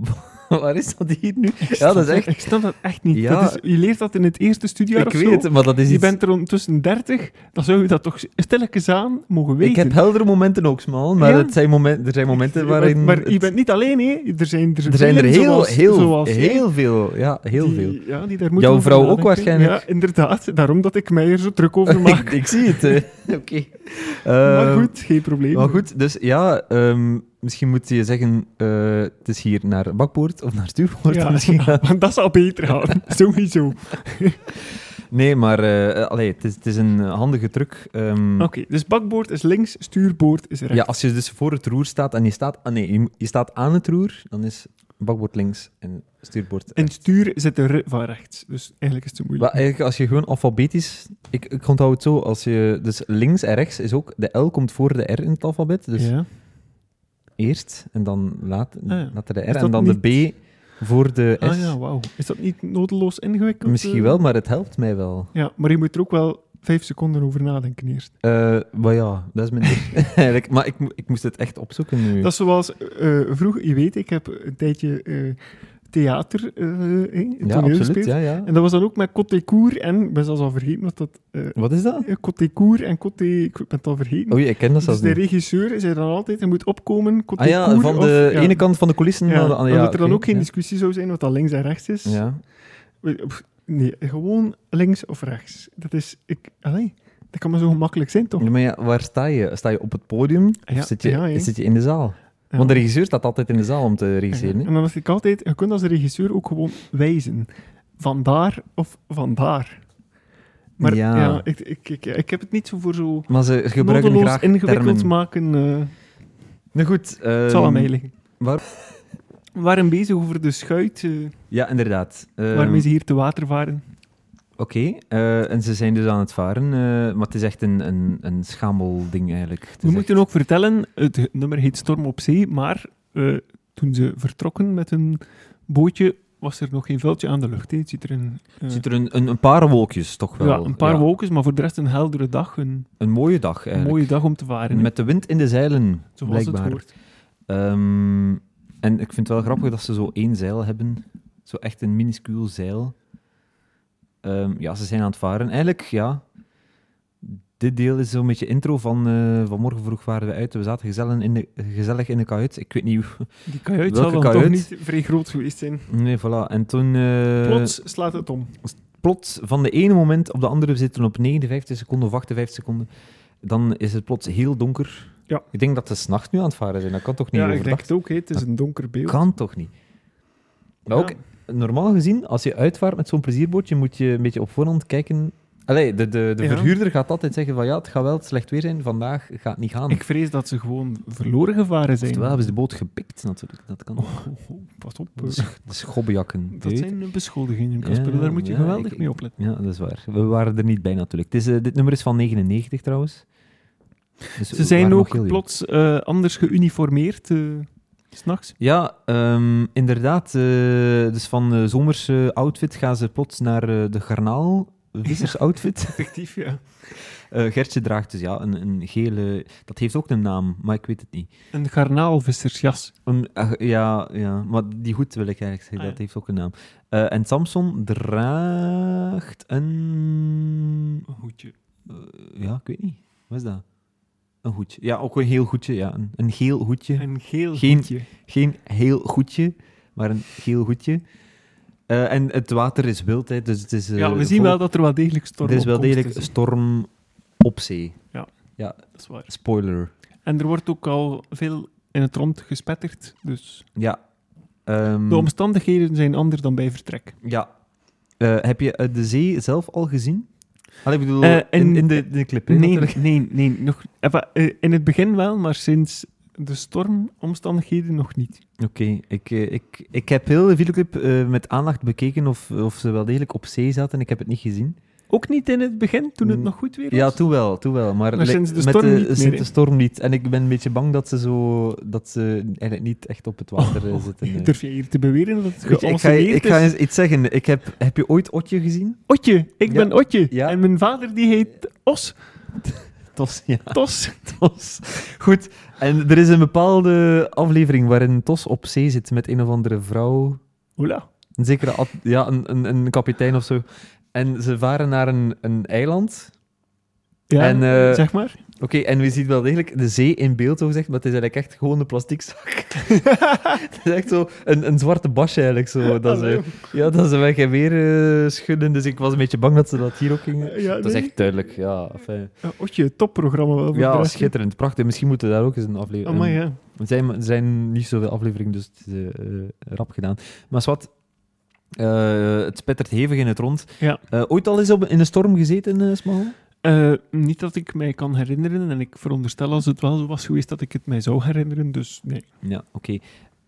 van, waar is dat hier nu?
Ik
Ja,
snap
dat is echt...
Ik snap dat echt niet.
Ja.
Dat is, je leert dat in het eerste
Ik
studiejaar of
weet
zo.
het, maar dat is
Je
iets...
bent er ondertussen 30, dan zou je dat toch stilletjes aan mogen weten.
Ik heb heldere momenten ook, smal, maar
Ja.
het zijn momenten, er zijn momenten waarin...
Maar,
het-
je bent niet alleen, hè. Er zijn er,
er zijn er
velen
heel,
zoals-
heel,
zoals jij,
heel veel. Ja, heel
die-
veel.
Ja, die daar moeten
Jouw
over
vrouw ook
nadenken.
waarschijnlijk.
Ja, inderdaad. Daarom dat ik mij er zo druk over maak.
ik, ik zie het. eh. Oké.
maar
Ehm,
goed, geen probleem.
Maar goed, dus ja, ehm, misschien moet je zeggen, eh, het is hier naar bakboord of naar stuurboord.
Ja,
misschien. Hm.
ja, want dat zal beter gaan. Sowieso. Oké,
Nee, maar eh, eh, allee, het, is, het is een handige truc. ehm.
dus bakboord is links, stuurboord is rechts.
ja, als je dus voor het roer staat en je staat, ah, nee, je, je staat aan het roer, dan is bakboord links en stuurboord
En stuur zit er van rechts. Dus eigenlijk is het te
Maar
moeilijk.
eigenlijk, als je gewoon alfabetisch... Ik, ik onthoud het zo, als je... Dus links en rechts is ook... De L komt voor de R in het alfabet. Dus
ja. Ah
eerst en dan laat,
ja.
later de R.
Is dat
En dan de B voor de S.
Ah ja, wauw. Is dat niet nodeloos ingewikkeld?
Misschien
eh?
wel, maar het helpt mij wel.
Ja, maar je moet er ook wel vijf seconden over nadenken eerst.
Eh, maar ja, dat is mijn ding. Eigenlijk, maar ik, mo- ik moest het echt opzoeken nu.
Dat is zoals eh, vroeger, je weet, ik heb een tijdje eh, theater eh, eh,
ja,
toneel
absoluut.
gespeeld.
Ja, ja.
En dat was dan ook met Côté Cour en, ik ben zelfs al vergeten wat dat... eh
Wat is dat?
Côté Cour en Côté... Ik ben het al vergeten.
Oei, ik ken Oh dat
dus
zelfs
de
niet.
regisseur zei dan altijd, je moet opkomen, Côté
Ah ja,
Cour
van
of-
de
ja.
ene kant van de coulissen
Ja,
naar de andere.
dat
Ja,
er dan
oké,
ook geen
ja.
discussie zou zijn wat dat links en rechts is.
Ja.
We- pff, Nee, gewoon links of rechts. Dat is... Ik, allee, dat kan maar zo gemakkelijk zijn, toch?
Ja, Maar ja, waar sta je? Sta je op het podium
Ja,
of zit je,
ja, hè.
zit je in de zaal?
Ja.
Want de regisseur staat altijd in de zaal om te regisseren. hè?
En dan dacht ik altijd, je kunt als regisseur ook gewoon wijzen. Vandaar of vandaar. Maar
Ja.
ja, ik, ik, ik, ik heb het niet zo voor zo
Maar ze gebruiken
nodeloos
graag
ingewikkeld
termen.
maken. eh,
Nou goed.
het zal aan
ehm,
mij liggen.
waar- Ehm.
We waren bezig over de schuit eh,
Ja, inderdaad. Ehm,
waarmee ze hier te water varen.
Oké, eh, en ze zijn dus aan het varen, eh, maar het is echt een, een, een schamel ding eigenlijk. Het
We
is
moeten
echt-
ook vertellen, het nummer heet Storm op Zee, maar eh, toen ze vertrokken met hun bootje, was er nog geen vuiltje aan de lucht. hè. Het ziet er een, eh,
Er zitten een, een, een paar wolkjes toch wel.
ja, een paar
Ja,
wolkjes, maar voor de rest een heldere dag, een
Een mooie dag eigenlijk.
mooie dag om te varen. hè.
Met de wind in de zeilen,
Zoals
blijkbaar.
het hoort.
Ehm, en ik vind het wel grappig dat ze zo één zeil hebben. Zo echt een minuscuul zeil. Ehm, ja, ze zijn aan het varen. Eigenlijk, ja. Dit deel is zo'n beetje intro van eh, vanmorgen vroeg waren we uit. We zaten gezellig in de, gezellig in de kajuit. Ik weet niet hoe...
Die kajuit
Welke
zal dan
kajuit?
toch niet vrij groot geweest zijn.
Nee, voilà. En toen... eh,
Plots slaat het om.
plots van de ene moment op de andere we zitten op 59 seconden of 58 seconden. Dan is het plots heel donker.
Ja.
Ik denk dat ze s'nachts nu aan het varen zijn. Dat kan toch niet
ja, ik
overdag
denk het ook. hè. Het is een donker beeld.
Kan toch niet? Maar
Ja.
ook, normaal gezien, als je uitvaart met zo'n plezierbootje, moet je een beetje op voorhand kijken. Allee, de, de, de
Ja.
verhuurder gaat altijd zeggen van ja, het gaat wel slecht weer zijn, vandaag gaat het niet gaan.
Ik vrees dat ze gewoon verloren gevaren zijn.
Oftewel hebben ze de boot gepikt natuurlijk, dat kan. ook.
Oh, oh, pas op.
De sch- de schobbejakken.
Dat
weet.
zijn eh, beschuldigingen, Casper.
Ja,
Daar moet je
ja,
geweldig
ik-
mee opletten.
Ja, dat is waar. We waren er niet bij natuurlijk. Het is, eh, dit nummer is van 99 trouwens. Dus we
Ze zijn
waren nog heel jong.
ook plots eh, anders geuniformeerd. eh, s S'nachts.
Ja, ehm, inderdaad. eh, dus van de zomerse outfit gaan ze plots naar eh, de garnaal. Vissersoutfit.
Effectief, ja.
Eh, Gertje draagt dus ja, een, een gele... Dat heeft ook een naam, maar ik weet het niet.
Een garnaalvissersjas.
Een- ah, ja, ja, maar die goed wil ik eigenlijk zeggen.
Ah, ja.
Dat heeft ook een naam. Eh, en Samson draagt een...
Een hoedje.
eh, ja, ik weet niet. Wat is dat? Een hoedje. Ja, ook een heel goedje. Ja. Een, een geel hoedje.
Een geel
Geen-
hoedje.
Geen heel goedje, maar een geel goedje. Eh, en het water is wild, hè, dus het is... eh,
Ja, we zien
volop-
wel dat er wel degelijk storm
Er is wel
op komst
degelijk
is, hè.
storm op zee.
Dat is waar.
Spoiler.
En er wordt ook al veel in het rond gespetterd, dus...
Ja. Ehm,
De omstandigheden zijn anders dan bij vertrek.
Ja. Eh, heb je eh, de zee zelf al gezien? Ah, ik bedoel,
Eh,
in,
in-
in de, de clip, hè,
Nee,
natuurlijk.
nee, nee. Nog, enfin, eh, in het begin wel, maar sinds de stormomstandigheden nog niet.
Oké, ik, eh, ik, ik heb heel de videoclip eh, met aandacht bekeken of, of ze wel degelijk op zee zaten. Ik heb het niet gezien.
Ook niet in het begin, toen het
Mm,
nog goed weer was.
Ja, toen wel, toen wel. Maar,
Maar
li-
sinds de
met
storm
de,
niet meer,
sinds
hè?
de storm niet. En ik ben een beetje bang dat ze, zo, dat ze eigenlijk niet echt op het water eh, zitten. eh.
Durf je hier te beweren dat
Weet
het
je, ik ga, je-
geanceneerd
ik ga
Oh. is?
eens iets zeggen. Ik heb, heb je ooit Otje gezien?
Otje, ik
Ja.
ben Otje.
Ja.
En mijn vader die heet Os.
Tos, ja.
Tos.
Tos. Goed. En er is een bepaalde aflevering waarin Tos op zee zit met een of andere vrouw.
Hola.
Een zekere ad- ja, een, een, een kapitein of zo. En ze varen naar een, een eiland.
Ja,
En, eh,
zeg maar.
Oké, en we zien wel degelijk de zee in beeld, zo gezegd, maar het is eigenlijk echt gewoon een plastic zak. het is echt zo een, een zwarte basje eigenlijk. Zo, oh, dat eh,
Allee,
ze, ja, dat ze weg en weer eh, schudden. Dus ik was een beetje bang dat ze dat hier ook gingen.
ja,
Dat is
nee.
echt duidelijk, ja. Enfin,
Eh, Otje, topprogramma wel. voor de
ja,
rest.
schitterend, prachtig. Misschien moeten we daar ook eens een aflevering...
Amai, ja.
Er zijn, er zijn niet zoveel afleveringen, dus het is eh, eh, rap gedaan. Maar zwart, eh, het spettert hevig in het rond.
Ja.
Eh, ooit al eens op, in een storm gezeten, eh Smal?
Eh, niet dat ik mij kan herinneren. En ik veronderstel als het wel zo was geweest dat ik het mij zou herinneren. Dus nee.
Ja, oké.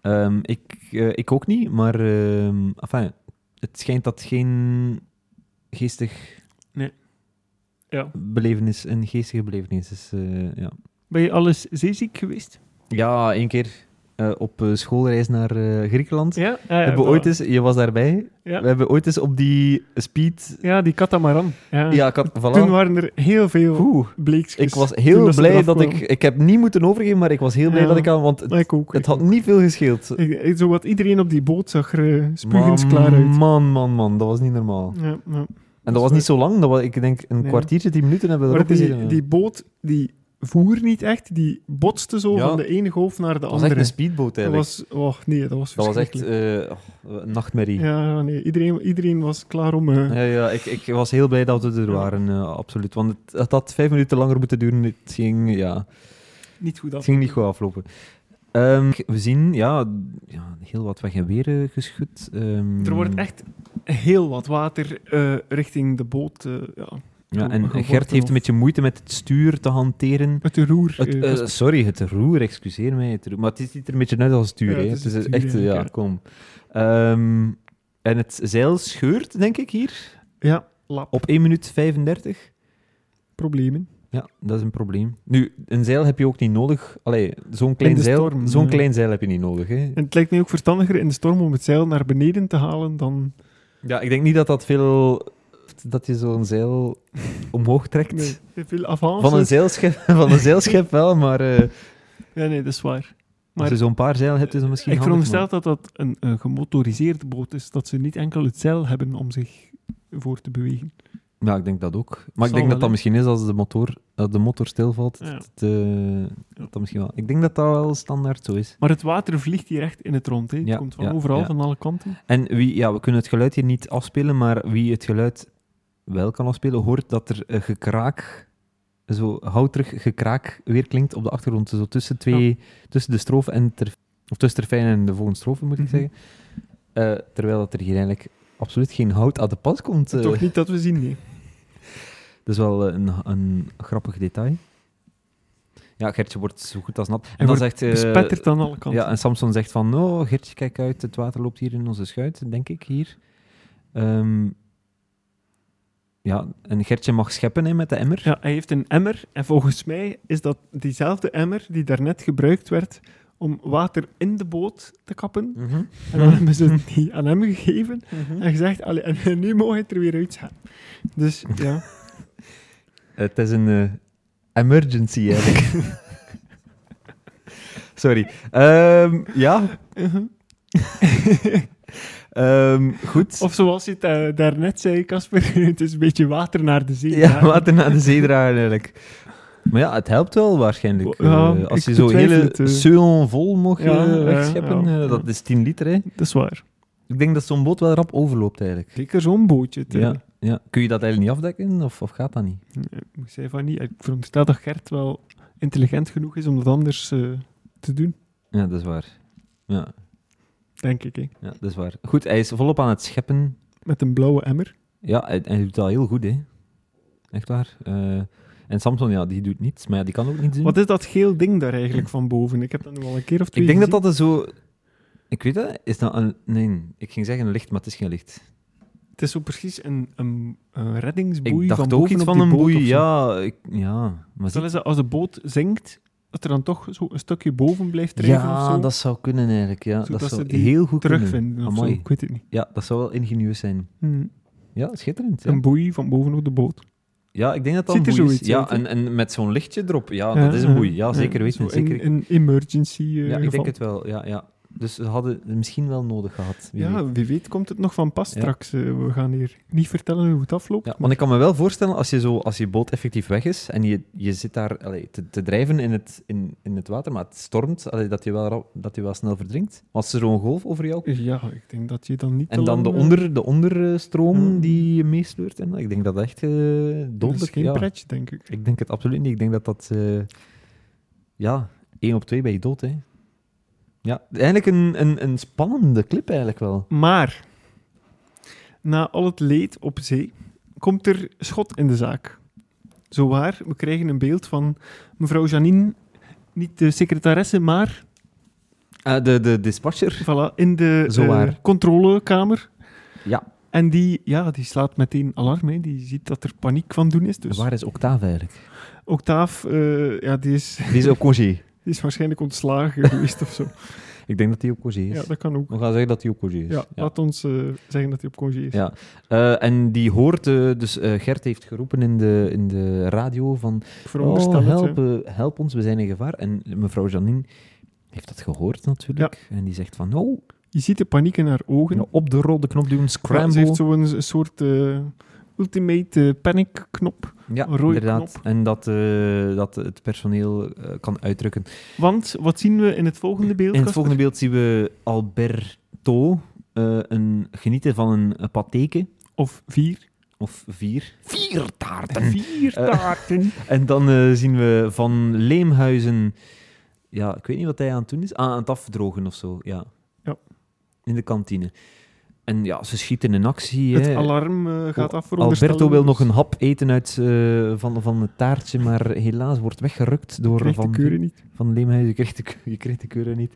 Ehm, ik, eh, ik ook niet, maar ehm, enfin, het schijnt dat geen geestig
Ja.
belevenis, een geestige belevenis is. eh, ja.
Ben je alles zeeziek geweest?
ja, één keer. eh, op eh, schoolreis naar eh, Griekenland.
Ja, ja, ja,
hebben we
voilà.
ooit eens, je was daarbij,
Ja.
we hebben ooit eens op die speed...
Ja, die katamaran. Ja.
Ja, ik had, voilà.
Toen waren er heel veel
Oeh,
bleekjes.
ik was
toen
heel
ze
blij
eraf
dat ik...
kwamen.
Ik heb niet moeten overgeven, maar ik was heel blij
Ja.
dat ik aan... Want het,
Ik ook.
het had niet veel gescheeld.
Ik, ik- zo wat iedereen op die boot zag er eh, spugens
Maar
klaar uit.
Man, man, man, dat was niet normaal.
Ja, ja.
En dat was niet zo lang, dat was, ik denk een
Nee.
kwartiertje, tien minuten hebben we
Maar
erop
die,
gezien.
die boot, die voer niet echt. Die botste zo
Ja.
van de ene golf naar de
Dat was echt
andere.
een speedboot
dat
eigenlijk.
was, oh nee, dat was
Dat was echt
verschrikkelijk.
eh, oh, een nachtmerrie. Ja.
Ja, nee, iedereen, iedereen was klaar om... eh,
Ja, ik, ik was heel blij dat we er
Ja.
waren, eh, absoluut. Want het, het had vijf minuten langer moeten duren. Het ging, ja,
Niet goed
het
af.
ging niet goed aflopen. Ehm, we zien ja, ja, heel wat weg en weer eh, geschud. Ehm,
Er wordt echt heel wat water eh, richting de boot. eh, ja.
Ja, en
geworpen
Gert heeft
of-
een beetje moeite met het stuur te hanteren.
Met de roer.
Het,
eh,
eh, sorry, het roer, excuseer mij. Het roer, maar het ziet er een beetje net als duur.
Ja,
hè.
het
Het
is
is
het duur,
echt, eh, ja,
ja.
kom. Ehm, en het zeil scheurt, denk ik, hier.
ja, lap.
Op 1 minuut 35.
Problemen.
Ja, dat is een probleem. Nu, een zeil heb je ook niet nodig. Allee, zo'n klein,
de
zeil,
storm, eh.
zo'n
ja.
klein zeil heb je niet nodig. Hè.
En het lijkt mij ook verstandiger in de storm om het zeil naar beneden te halen dan...
Ja, ik denk niet dat dat veel... Dat je zo'n zeil omhoog trekt.
Nee, veel avance.
Van, een zeilschip, van een zeilschip wel, maar eh,
Ja, nee, dat is waar.
als
Maar
je zo'n paar zeil hebt, is dat misschien
ik
handig,
veronderstel dat dat een, een gemotoriseerde boot is, dat ze niet enkel het zeil hebben om zich voor te bewegen.
Ja, ik denk dat ook. Maar ik
Zal
denk
wel,
dat dat
hè?
misschien is als de motor, dat de motor stilvalt.
Ja.
Dat, eh, dat dat misschien wel. Ik denk dat dat wel standaard zo is.
Maar het water vliegt hier echt in het rond. Hè. Het
Ja,
komt van
ja,
overal,
ja.
van alle kanten.
En wie, ja, we kunnen het geluid hier niet afspelen, maar wie het geluid wel kan afspelen, hoort dat er een gekraak, zo houterig gekraak weer klinkt op de achtergrond. Zo tussen, twee, tussen de strofe en ter, of tussen terfijn en de volgende strofe, moet ik
Mhm.
zeggen. Eh, terwijl dat er hier eigenlijk absoluut geen hout aan de pas komt. eh.
Toch niet dat we zien, nee.
Dat is wel eh, een, een grappig detail. Ja, Gertje wordt zo goed als nat. En, dan
wordt
zegt... eh,
Bespetterd aan alle kanten.
ja, en Samson zegt van, oh, Gertje, kijk uit, het water loopt hier in onze schuit, denk ik, hier. Ehm, ja, en Gertje mag scheppen hè, met de emmer.
Ja, hij heeft een emmer en volgens mij is dat diezelfde emmer die daarnet gebruikt werd om water in de boot te kappen.
Mhm.
En dan hebben ze die aan hem gegeven en gezegd, allee, en nu mag het er weer uit gaan. Dus ja,
Het is een eh, emergency, eigenlijk. Sorry. Ehm, ja.
Mhm.
Ehm, goed.
of zoals je het eh, daarnet zei, Casper, het is een beetje water naar de zee.
Ja, water naar de zee dragen eigenlijk. Maar ja, het helpt wel waarschijnlijk.
Ja,
Eh, als
ik
je zo
betwijfel
hele
het, eh.
Seon vol mocht
Ja,
eh,
ja,
wegscheppen,
ja.
eh, dat is 10 liter. Hè.
Dat is waar.
Ik denk dat zo'n boot wel rap overloopt eigenlijk.
Zeker zo'n bootje. eh, te-
Ja, ja. Kun je dat eigenlijk niet afdekken of, of gaat dat niet?
Nee, Ik zei van niet, ik veronderstel dat Gert wel intelligent genoeg is om dat anders eh, te doen,
Ja, dat is waar. Ja,
denk ik. hè.
ja, dat is waar. Goed, hij is volop aan het scheppen.
Met een blauwe emmer.
Ja, hij, hij doet dat heel goed, hè. Echt waar. Eh, en Samson, ja, die doet niets, maar ja, die kan ook niets doen.
Wat is dat geel ding daar eigenlijk van boven? Ik heb dat nu al een keer of twee
Ik denk dat
gezien.
dat er zo... Ik weet dat, is dat een... Nee, ik ging zeggen een licht, maar het is geen licht.
Het is zo precies een, een, een reddingsboei
Ik
van
dacht
boven
ook iets
op
van
die
een
boot
boei,
of zo.
ja. Ik, ja, maar
Stel
zie-
eens dat als de boot zinkt, dat er dan toch zo een stukje boven blijft drijven of
ja
zo.
dat zou kunnen eigenlijk. Ja.
Zodat
Dat
ze
zou
die
heel goed kunnen.
terugvinden of zo.
Amai. Hmm.
Ik weet het niet.
Ja, dat zou wel ingenieus zijn.
Hm.
Ja, schitterend. Ja,
Een boei van boven op de boot.
ja ik denk dat dat
Ziet
een
er
boei is.
zoiets
Ja,
uit, hè?
en, en met zo'n lichtje erop. Ja,
Ja,
Ah, dat is een
ja.
boei. Ja,
Ja,
zeker weten.
zo
zeker.
Een, een emergency eh,
ja, ik
geval.
denk het wel. Ja, ja. Dus ze hadden het misschien wel nodig gehad. wie weet.
Ja, wie weet komt het nog van pas
Ja.
straks. eh, we gaan hier niet vertellen hoe het afloopt.
Ja, want ik kan me wel voorstellen, als je, zo, als je boot effectief weg is en je, je zit daar allee, te, te drijven in het, in, in het water, maar het stormt, allee, dat, je wel, rap- dat je wel snel verdrinkt. Als er zo'n golf over jou
Ja, ik denk dat je dan niet eh,
En dan de,
onder
onder, de onderstroom
Ja.
die je meesleurt. En ik denk dat echt eh
Dat Mm. is
dodelijk
geen
ja.
pretje, denk ik.
Ik denk het absoluut niet. Ik denk dat dat. eh, ja, één op twee ben je dood. Hè. Ja, eigenlijk een, een, een spannende clip, eigenlijk wel.
Maar na al het leed op zee komt er schot in de zaak. Zowaar, we krijgen een beeld van mevrouw Janine, niet de secretaresse, maar
Eh, de, de dispatcher.
voilà, in de
Zowaar.
eh, controlekamer.
Ja.
En die, ja, die slaat meteen alarm. Hè. Die ziet dat er paniek van doen is. Dus
Waar is Octave eigenlijk?
Octaaf, eh, ja, die, is,
Die is op congé.
die is waarschijnlijk ontslagen geweest of zo.
Ik denk dat die op congé is.
Ja, dat kan ook.
We gaan zeggen dat die op congé is.
Ja, laat ons eh, zeggen dat hij op congé is.
Ja. Eh, en die hoort, eh, dus eh, Gert heeft geroepen in de, in de radio van
Ik veronderstel
oh,
het, hè.
help, eh, help ons, we zijn in gevaar. En mevrouw Janine heeft dat gehoord natuurlijk. En die zegt van, nou,
Je ziet de paniek in haar ogen.
nou, op de rode knop doen,
Ja, ze
scramble.
heeft zo'n een soort eh, ultimate eh, panic knop.
Ja,
Een rode
inderdaad.
knop.
En dat, eh, dat het personeel eh, kan uitdrukken.
Want wat zien we in het volgende beeld?
In het
Casper?
volgende beeld zien we Alberto eh, een, genieten van een, een patéke
Of vier.
of vier. Vier taarten!
Vier
Eh.
taarten.
En dan eh, zien we van Leemhuizen. Ja, ik weet niet wat hij aan het doen is. Ah, aan het afdrogen of zo. Ja.
Ja.
In de kantine. En ja, ze schieten in actie.
het
hè.
alarm eh, gaat af voor
Oh, Alberto wil nog een hap eten uit, eh, van, van het taartje, maar helaas wordt weggerukt door
Krijgt de
van,
keuren niet.
van Leemhuizen. Je kreeg, de, keu- je kreeg de keuren niet.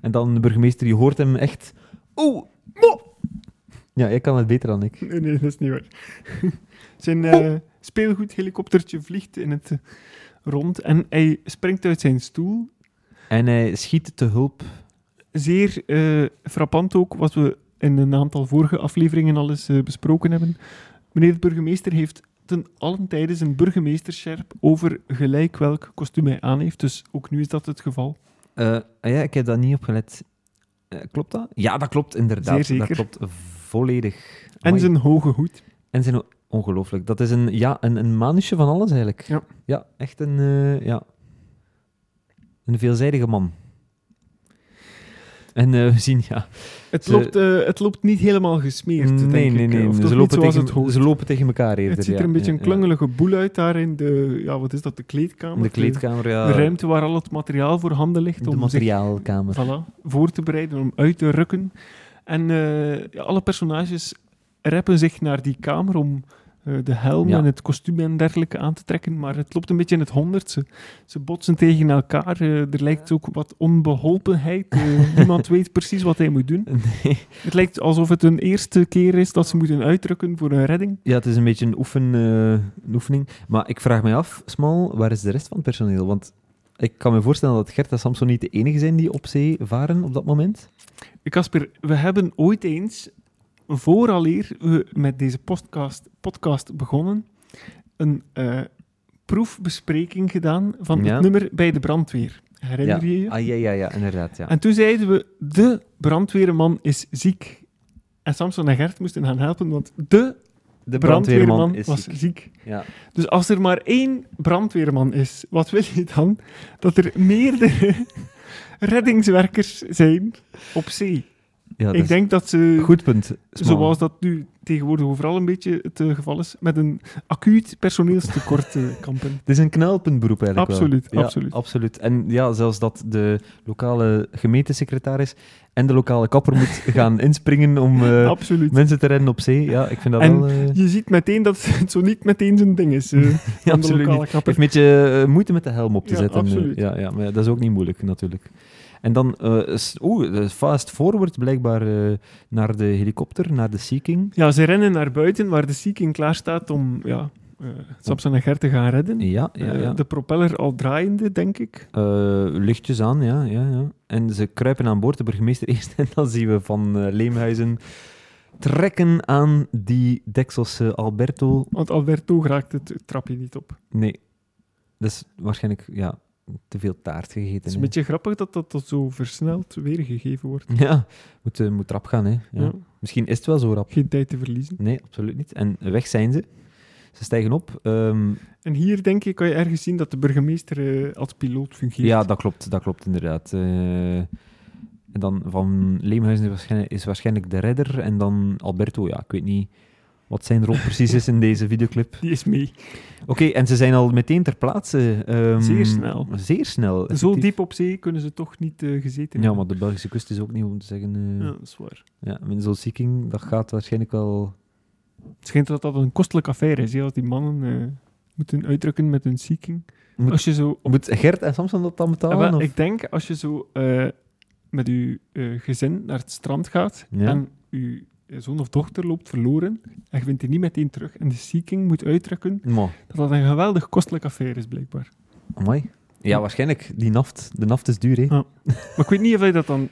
En dan de burgemeester, die hoort hem echt... Oeh, mo! Ja, jij kan het beter dan ik.
Nee, nee, dat is niet waar. zijn
Oh.
eh speelgoedhelikoptertje vliegt in het eh, rond en hij springt uit zijn stoel.
En hij schiet te hulp.
Zeer eh, frappant ook, wat we in een aantal vorige afleveringen al eens eh, besproken hebben. Meneer de burgemeester heeft ten allen tijde zijn burgemeesterscherp over gelijk welk kostuum hij aan heeft. Dus ook nu is dat het geval.
Eh, ah ja, ik heb daar niet op gelet. Eh, klopt dat? Ja, dat klopt inderdaad.
Zeer zeker.
Dat klopt volledig.
En
Amai.
zijn hoge hoed.
En zijn... Ongelooflijk. Dat is een, ja, een, een manusje van alles eigenlijk.
Ja.
echt een... eh, ja. Een veelzijdige man. En eh, we zien, ja...
Het,
Ze-
loopt, eh, het loopt niet helemaal gesmeerd,
nee,
denk ik.
nee, nee.
eh, Of toch
ze,
niet
lopen
zoals
tegen,
het hoort.
ze lopen tegen elkaar eerder.
Het ziet er
ja,
een beetje
ja,
een klungelige boel uit daar in de, ja, wat is dat, de
ja.
kleedkamer?
In de kleedkamer, ja.
De ruimte waar al het materiaal voor handen ligt
De
om zich
materiaalkamer.
voilà, voor te bereiden, om uit te rukken. En eh, ja, alle personages reppen zich naar die kamer om eh, de helm
Ja.
en het kostuum en dergelijke aan te trekken, maar het loopt een beetje in het honderdste. Ze botsen tegen elkaar, eh, er lijkt ook wat onbeholpenheid, eh, niemand weet precies wat hij moet doen.
Nee.
Het lijkt alsof het een eerste keer is dat ze moeten uitrukken voor een redding.
Ja, het is een beetje een, oefen, eh, een oefening. Maar ik vraag mij af, Smal, waar is de rest van het personeel? Want ik kan me voorstellen dat Gert en Samson niet de enige zijn die op zee varen op dat moment.
Casper, we hebben ooit eens, vooraleer we met deze podcast, podcast begonnen, een eh, proefbespreking gedaan van
Ja.
het nummer bij de brandweer. Herinner je je?
Ah, ja, ja, ja, inderdaad. Ja.
En toen zeiden we, de brandweerman is ziek. En Samson en Gert moesten gaan helpen, want de
de
brandweerman, was
ziek.
ziek.
Ja.
Dus als er maar één brandweerman is, wat wil je dan? Dat er meerdere reddingswerkers zijn op zee.
Ja, dat
Ik
is-
denk dat ze
Goed punt, Smal.
Zoals dat nu tegenwoordig overal een beetje het eh, geval is, met een acuut personeelstekort eh, kampen.
Het is een knelpuntberoep eigenlijk wel.
Absoluut,
Ja,
absoluut.
absoluut. En ja, zelfs dat de lokale gemeentesecretaris en de lokale kapper moet gaan inspringen om eh,
Absoluut.
mensen te redden op zee. Ja, ik vind dat
En
wel... eh,
Je ziet meteen dat het zo niet meteen zijn ding is. eh, van de
absoluut
lokale
niet.
kapper.
heeft een beetje eh, moeite met de helm op te
Ja,
zetten.
absoluut.
Ja, ja, maar ja, dat is ook niet moeilijk natuurlijk. En dan, eh, s- oeh, eh, fast forward blijkbaar eh, naar de helikopter, naar de Seeking.
Ja, ze rennen naar buiten waar de Sea King klaar staat om ja, eh, Samson en Gert te gaan redden.
Ja, ja,
Eh,
ja.
de propeller al draaiende, denk ik.
Eh, lichtjes aan, ja, ja, ja. En ze kruipen aan boord, de burgemeester eerst. En dan zien we van eh, Leemhuizen trekken aan die dekselse Alberto.
Want Alberto raakt het trapje niet op.
Nee, dat is waarschijnlijk ja, te veel taart gegeten.
Het is
hè.
een beetje grappig dat dat, dat zo versneld weergegeven wordt.
Ja, moet, eh, moet rap gaan, hè. Ja.
Ja,
Misschien is het wel zo rap.
geen tijd te verliezen.
Nee, absoluut niet. En weg zijn ze. Ze stijgen op. Ehm,
En hier denk ik kan je ergens zien dat de burgemeester eh, als piloot fungeert.
ja, dat klopt. Dat klopt inderdaad. Eh, en dan van Leemhuizen is waarschijnlijk, is waarschijnlijk de redder. En dan Alberto, ja, ik weet niet wat zijn rol precies is in deze videoclip.
Die is mee.
Oké, en ze zijn al meteen ter plaatse. ehm,
Zeer snel.
Zeer snel.
Zo
effectief.
diep op zee kunnen ze toch niet eh, gezeten
Ja, maar
hebben.
de Belgische kust is ook niet om te zeggen... eh,
Ja, dat is waar.
ja. met zo'n seeking, dat gaat waarschijnlijk wel...
Het schijnt dat dat een kostelijke affaire is, hè, als die mannen eh, moeten uitdrukken met hun seeking.
Moet-
als je zo...
Moet Gert en Samson dat dan betalen?
Eh, wel,
of?
Ik denk, als je zo eh, met je eh, gezin naar het strand gaat
Ja.
en je zoon of dochter loopt verloren en je vindt die niet meteen terug en de seeking moet uitdrukken,
Maar,
dat dat een geweldig kostelijk affaire is, blijkbaar.
amai. Ja, waarschijnlijk. Die naft. De naft is duur, hè.
Maar ik weet niet of hij dat dan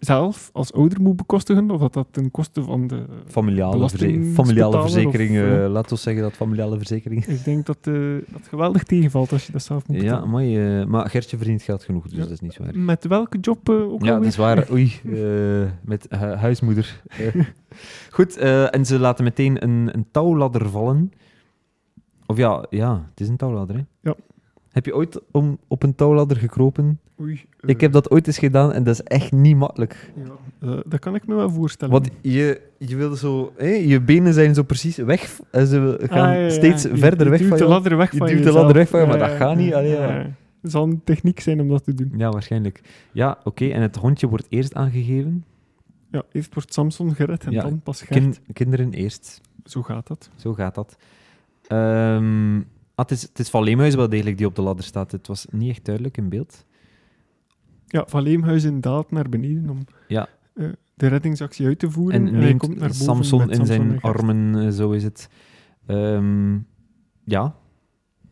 zelf als ouder moet bekostigen, of dat dat ten koste van de...
Familiale, verze
Belasting-
familiale
betaler of,
verzekering,
eh,
eh, laten we zeggen dat familiale verzekering.
Ik denk dat eh, dat geweldig tegenvalt als je dat zelf moet
Ja,
betalen.
mooi. eh, maar Gertje verdient geld genoeg, dus
Ja.
dat is niet zo erg.
Met welke job eh, ook
Ja, dat
alweer?
is waar. Oei, eh, met hu- huismoeder. Eh. Goed, eh, en ze laten meteen een, een touwladder vallen. Of ja, ja, het is een touwladder, hè?
Ja.
Heb je ooit om, op een touwladder gekropen?
Oei, eh,
Ik heb dat ooit eens gedaan en dat is echt niet makkelijk.
ja, eh, dat kan ik me wel voorstellen.
Want je, je wilde zo... Hè, je benen zijn zo precies weg. En ze
Ah,
gaan
ja, ja,
steeds
je-
verder
je
weg
duwt
van
de
je.
ladder weg
Je
van
duwt de
jezelf.
ladder weg van je, maar
Ja,
dat gaat niet, allee, ja.
Het zal een techniek zijn om dat te doen.
Ja, waarschijnlijk. Ja, oké. En het hondje wordt eerst aangegeven.
Ja, eerst wordt Samson gered en
Ja,
dan pas Gert.
Kin- kinderen eerst.
Zo gaat dat.
Zo gaat dat. Ehm, ah, het, is, het is Van Leemhuis wel degelijk die op de ladder staat. Het was niet echt duidelijk in beeld.
Ja, Van Leemhuizen daalt naar beneden om
Ja.
eh, de reddingsactie uit te voeren.
En,
En, hij
neemt
komt naar boven
Samson
met
in zijn
en Gert.
armen, eh, zo is het. Ehm, ja.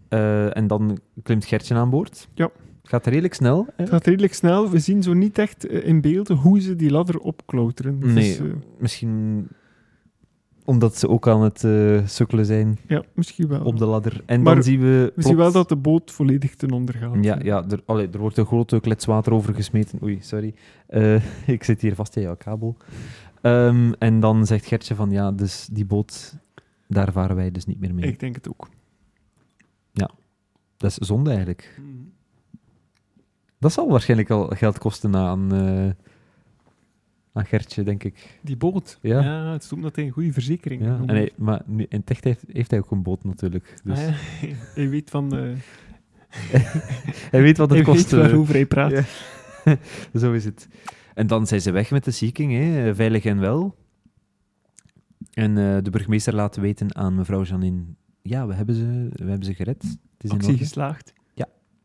Eh, en dan klimt Gertje aan boord.
Ja.
Het gaat redelijk snel. Eh, hè?
Het gaat redelijk snel. We zien zo niet echt eh, in beelden hoe ze die ladder opklauteren. Het
Nee.
is, eh,
Misschien omdat ze ook aan het eh, sukkelen zijn
ja, misschien wel.
op de ladder. En
Maar
dan zien we...
We zien wel
plots-
dat de boot volledig ten onder gaat.
Ja, ja er, allee, er wordt een grote klets water over gesmeten. Oei, sorry. Eh, ik zit hier vast aan jouw kabel. Ehm, en dan zegt Gertje van, ja, dus die boot, daar varen wij dus niet meer mee.
Ik denk het ook.
Dat is zonde eigenlijk.
Mm.
Dat zal waarschijnlijk al geld kosten aan, eh, aan Gertje, denk ik.
Die boot.
Ja.
het is omdat hij een goede verzekering
Ja, en
genomen
hij- maar nu, in Techt heeft, heeft hij ook een boot natuurlijk. Dus
Ah, ja. Hij weet van... eh
Hij weet wat het
hij
kost.
weet
eh,
waarover hij praat.
ja. Zo is het. En dan zijn ze weg met de zieking, hè? Eh, veilig en wel. En eh, de burgemeester laat weten aan mevrouw Janine: ja, we hebben ze, we hebben ze gered. Het is
Actie
een
geslaagd.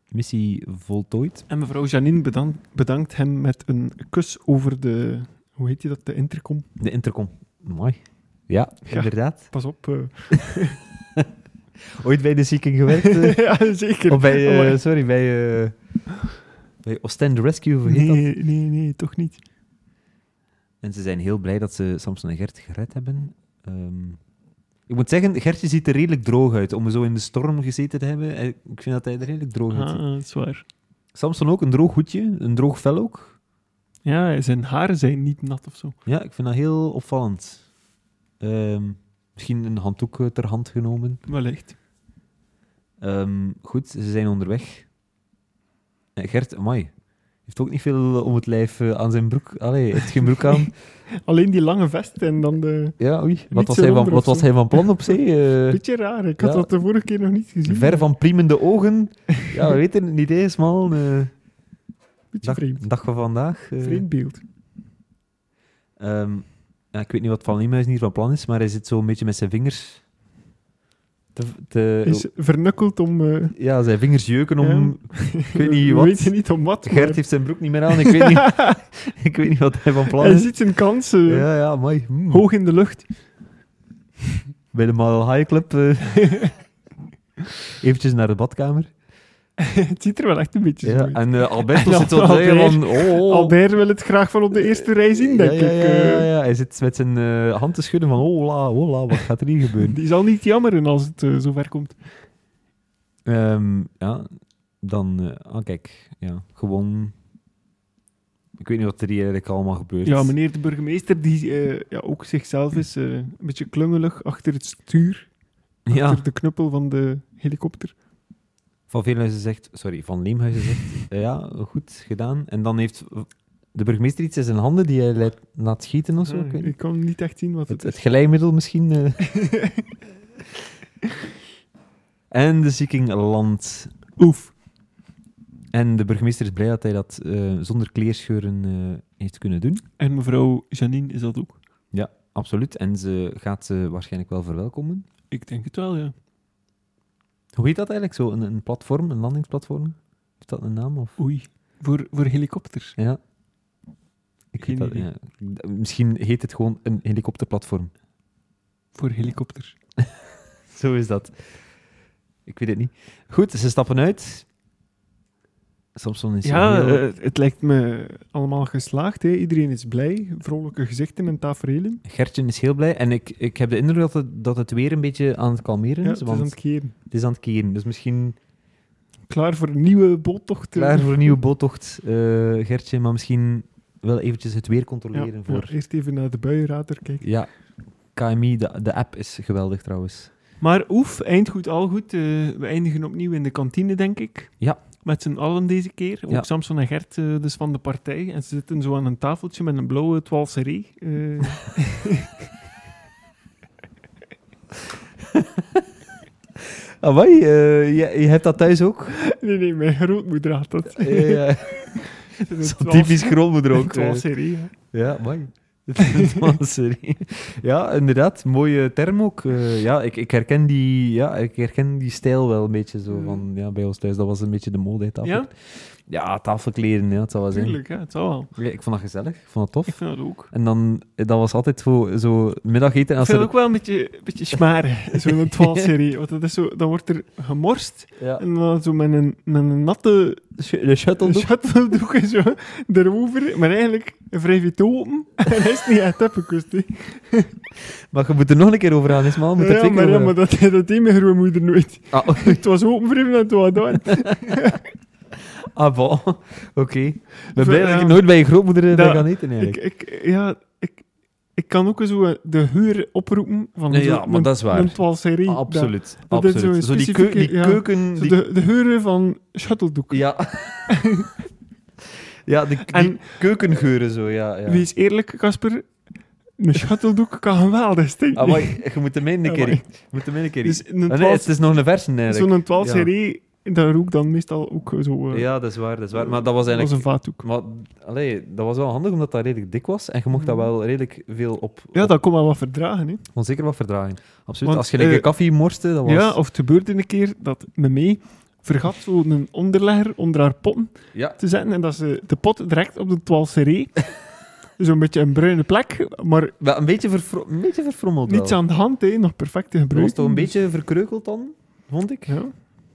missie voltooid.
En mevrouw Janine bedan- bedankt hem met een kus over de... Hoe heet je dat? De intercom.
De intercom. Mooi. Ja,
Ja.
inderdaad.
Pas op. eh.
Ooit bij de zieking gewerkt? eh?
ja, zeker.
of bij, eh,
Amai.
sorry, bij, eh, bij Ostend Rescue, hoe heet dat?
nee, nee, nee, toch niet.
En ze zijn heel blij dat ze Samson en Gert gered hebben. Ehm, ik moet zeggen, Gertje ziet er redelijk droog uit. Om zo in de storm gezeten te hebben, eh, ik vind dat hij er redelijk droog
Ah,
uitziet.
dat is waar.
Samson ook, een droog hoedje, een droog vel ook.
Ja, zijn haren zijn niet nat of zo.
Ja, ik vind dat heel opvallend. Ehm, misschien een handdoek eh, ter hand genomen.
Wellicht.
Ehm, goed, ze zijn onderweg. Eh, Gert, amai, heeft ook niet veel om het lijf eh, aan zijn broek. Allee, heeft geen broek aan.
Alleen die lange vest en dan de...
Ja, oei. Wat
Niet
was
zo
hij van,
onder
wat
of
was
zo.
hij van plan op zee? Eh,
Beetje raar, ik had
Ja.
dat de vorige keer nog niet gezien.
Ver van priemende ogen. Ja, we weten het niet eens, man. Eh,
Beetje
dag,
vreemd.
dag van vandaag. eh.
Vreemd beeld.
Ehm, ja, ik weet niet wat Van Leemhuis hier van plan is, maar hij zit zo een beetje met zijn vingers... Te, te-
is vernukkeld om... eh,
Ja, zijn vingers jeuken om... Ik weet niet
we
wat.
weten niet om wat. maar-
Gert heeft zijn broek niet meer aan, ik weet niet, ik weet niet wat hij van plan
Hij
is.
ziet zijn kansen eh,
Ja, ja, mooi. Hmm.
hoog in de lucht.
Bij de Mile High Club. eh, eventjes naar de badkamer.
het ziet er wel echt een beetje zo
Ja,
uit.
en eh, Alberto
En
zit zo te zeggen
Albert-
van... Oh, oh.
Albert wil het graag van op de eerste rij zien, denk
ja, ja,
ik.
Ja, ja,
eh.
ja. Hij zit met zijn eh, hand te schudden van hola, hola, wat gaat er hier gebeuren?
Die zal niet jammeren als het eh, zover komt.
Ehm, ja, dan... eh, ah, kijk. Ja, gewoon... Ik weet niet wat er hier eigenlijk allemaal gebeurt.
Ja, meneer de burgemeester, die eh, ja, ook zichzelf is, eh, een beetje klungelig achter het stuur,
Ja,
achter de knuppel van de helikopter.
Van Veenhuizen zegt... Sorry, Van Leemhuizen zegt... eh, ja, goed gedaan. En dan heeft de burgemeester iets in zijn handen die hij leidt- laat schieten of zo.
Ah,
ik weet
ik,
niet.
kan niet echt zien wat
Het,
het,
het
is.
glijmiddel misschien. eh. en de zieking landt
Oef.
En de burgemeester is blij dat hij dat eh, zonder kleerscheuren eh, heeft kunnen doen.
En mevrouw Janine is dat ook.
Absoluut. En ze gaat ze waarschijnlijk wel verwelkomen.
Ik denk het wel, ja.
Hoe heet dat eigenlijk? Zo een, een platform, een landingsplatform? Heeft dat een naam? Of?
Oei. Voor, voor helikopters.
Ja. Ik weet
Geen
dat,
idee.
ja. D- Misschien heet het gewoon een helikopterplatform.
Voor helikopters.
Zo is dat. Ik weet het niet. Goed, ze stappen uit. Samson is
Ja,
heel...
eh, het lijkt me allemaal geslaagd. Hè. Iedereen is blij, vrolijke gezichten en tafereelen.
Gertje is heel blij. En ik, ik heb de indruk dat het, dat het weer een beetje aan het kalmeren
Ja,
is.
het is
want
aan het keren.
het is aan het keren. Dus misschien
Klaar voor een nieuwe boottochten.
klaar voor een nieuwe boottocht, eh, Gertje. Maar misschien wel eventjes het weer
Ja,
controleren
ja,
voor...
eerst even naar de buienrader kijken.
Ja, KMI, de, de app is geweldig trouwens.
Maar oef, eind goed, al goed. Eh, we eindigen opnieuw in de kantine, denk ik.
Ja.
Met z'n allen deze keer. Ook
Ja.
Samson en Gert, eh, dus van de partij. En ze zitten zo aan een tafeltje met een blauwe twaalserie. Eh,
Amai, eh, je, je hebt dat thuis ook?
nee, nee, mijn grootmoeder had dat.
Eh, Zo typisch grootmoeder
Een
ook. eh,
twaalserie, ja.
Ja, mooi. serie. ja, inderdaad. Mooie term ook. Eh, ja, ik, ik, herken die, ja, ik herken die stijl wel een beetje zo
Mm.
van, ja, bij ons thuis. Dat was een beetje de mode, hè, tafel.
Ja,
Ja, tafelkleren, ja, dat zou wel zijn.
tuurlijk, ja, het zal wel.
Ja, ik vond dat gezellig, ik vond dat
Ik
tof.
vind dat ook.
En dan, eh, dat was altijd zo, zo middageten. en Als
Ik vind
er,
het ook wel een beetje, een beetje smaren, zo'n twaalserie. Want dat is zo, dan wordt er gemorst
ja,
en dan zo met een, met een natte
de shuttle
schuteldoek en zo erover. Maar eigenlijk wrijf je het open en hij is niet echt opgekust. hè.
Maar je moet er nog een keer over gaan, Ismael. Moet er
Ja,
twee keer
maar, ja,
over
maar
gaan.
dat, dat deed mijn grootmoeder nooit.
Ah, oké.
Het was openwrijven en het was gedaan.
Ah, bon. Oké. Ik ben
Ver-
blij dat
ja.
ik nooit bij je grootmoeder eh, ben
Dat-
gaan eten,
Ik,
eigenlijk.
ik, ja, ik, ik kan ook zo de huur oproepen van
Nee,
zo
ja, maar
een-
dat is waar.
een twaalserie. Dat-
Ah, absoluut.
dat is zo'n
absoluut. Zo die, keu-
specifieke-
die
ja.
keuken...
zo
die-
de, de huren van schuteldoeken.
Ja. ja, de, die
En-
keukengeuren zo, ja. ja.
Wees eerlijk, Casper. Een schuteldoek kan geweldig stinken.
Amai, Ah, je moet hem in een keer...
Amai.
Je moet hem in een keer...
Dus Ah, een
Ah, nee, het is nog een versen,
twaalf-
eigenlijk.
Zo'n twaalserie, daar rook dan meestal ook zo... eh,
Ja, dat is waar, dat is waar. Maar dat was
als een
eigenlijk...
vaatdoek.
Maar, allee, dat was wel handig, omdat dat redelijk dik was. En je mocht dat wel redelijk veel op...
Mm. Ja,
op-
dat kon wel wat verdragen, hè.
Onzeker wat verdragen. Absoluut.
Want,
Als je lekker
eh,
koffie morste, dat was...
Ja, of het gebeurde een keer dat me mee vergat zo'n onderlegger onder haar potten
ja.
te zetten en dat ze de pot direct op de toiletserie, zo'n beetje een bruine plek, maar
Wel, een, beetje verfro- een beetje verfrommeld Oh, wel.
niets aan de hand, hè, nog perfect te
Dat was
gebruiken.
toch een beetje verkreukeld dan, vond ik? Ja,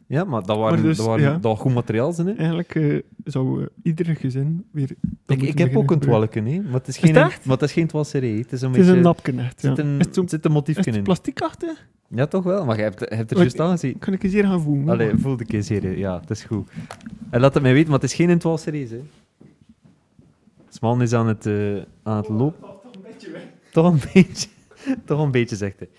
Ja,
maar dat waren,
Maar dus,
dat waren
ja.
dat was goed materiaal zijn. Hè.
eigenlijk eh, zou eh, ieder gezin weer...
Ik,
dat moeten
ik heb
beginnen
ook een
gebruiken.
twalken, hè. maar het is
Is
geen,
het
maar het is geen toiletserie. Het is een
Het is
beetje...
een napken, echt.
er
Ja.
zit een,
Is het zo'n-
er zit een
is
motiefje
het
in.
plastiekachtig?
Ja, toch wel? Maar je hebt, je hebt er
Maar
juist aan gezien.
Kan ik eens hier gaan voelen? hè?
Allee, voelde ik eens hier. Ja, het is goed. En laat het mij weten, maar het is geen toiletserie. hè. Sman is aan het, eh, aan het lopen. Toch een beetje, toch een beetje zegt hij.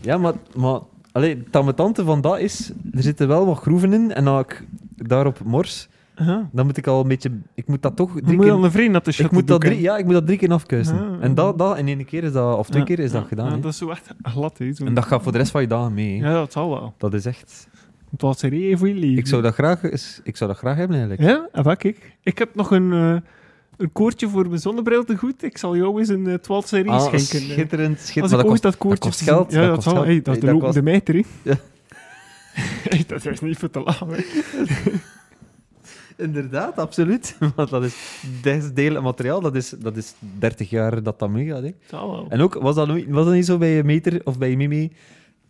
Ja, maar, maar allee, het amusante van dat is, er zitten wel wat groeven in en als ik daarop mors,
Aha.
dan moet ik al een beetje, ik moet dat toch
Dan
drie
moet je
keer,
al een vriend dat de
ik moet dat
shuttledoek, hè.
drie, ja, ik moet dat drie keer afkuisen.
Ah,
en dat, dat in één keer is dat, of twee
Ja,
keer is dat
ja,
gedaan.
ja,
hè.
dat is zo echt glad, hè. zo'n-
En dat gaat voor de rest van je dagen mee. hè.
Ja, dat zal wel.
Dat is echt,
Het was serie voor je leven.
ik zou dat graag, eens- ik zou dat graag hebben eigenlijk.
Ja, en wat ik? Ik heb nog een, eh, een koortje voor mijn zonnebril te goed. Ik zal jou eens een eh, 12 serie
Ah,
schenken. eh.
schitterend, schitterend.
Als
Maar
ik
dat
ooit
kost,
dat koortje...
kost geld,
Ja,
dat
dat,
kost
zal,
geld.
hey, dat is de
Hey, dat
lopende meter, hè.
Ja.
Hey, dat is niet voor te laag, hè.
inderdaad, absoluut. Want dat is, dat is delen materiaal, dat is, dat is 30 jaar dat dat meegaat. Hè.
Het zal wel.
En ook, was dat, nooit- was dat niet zo bij je meter of bij je mimi?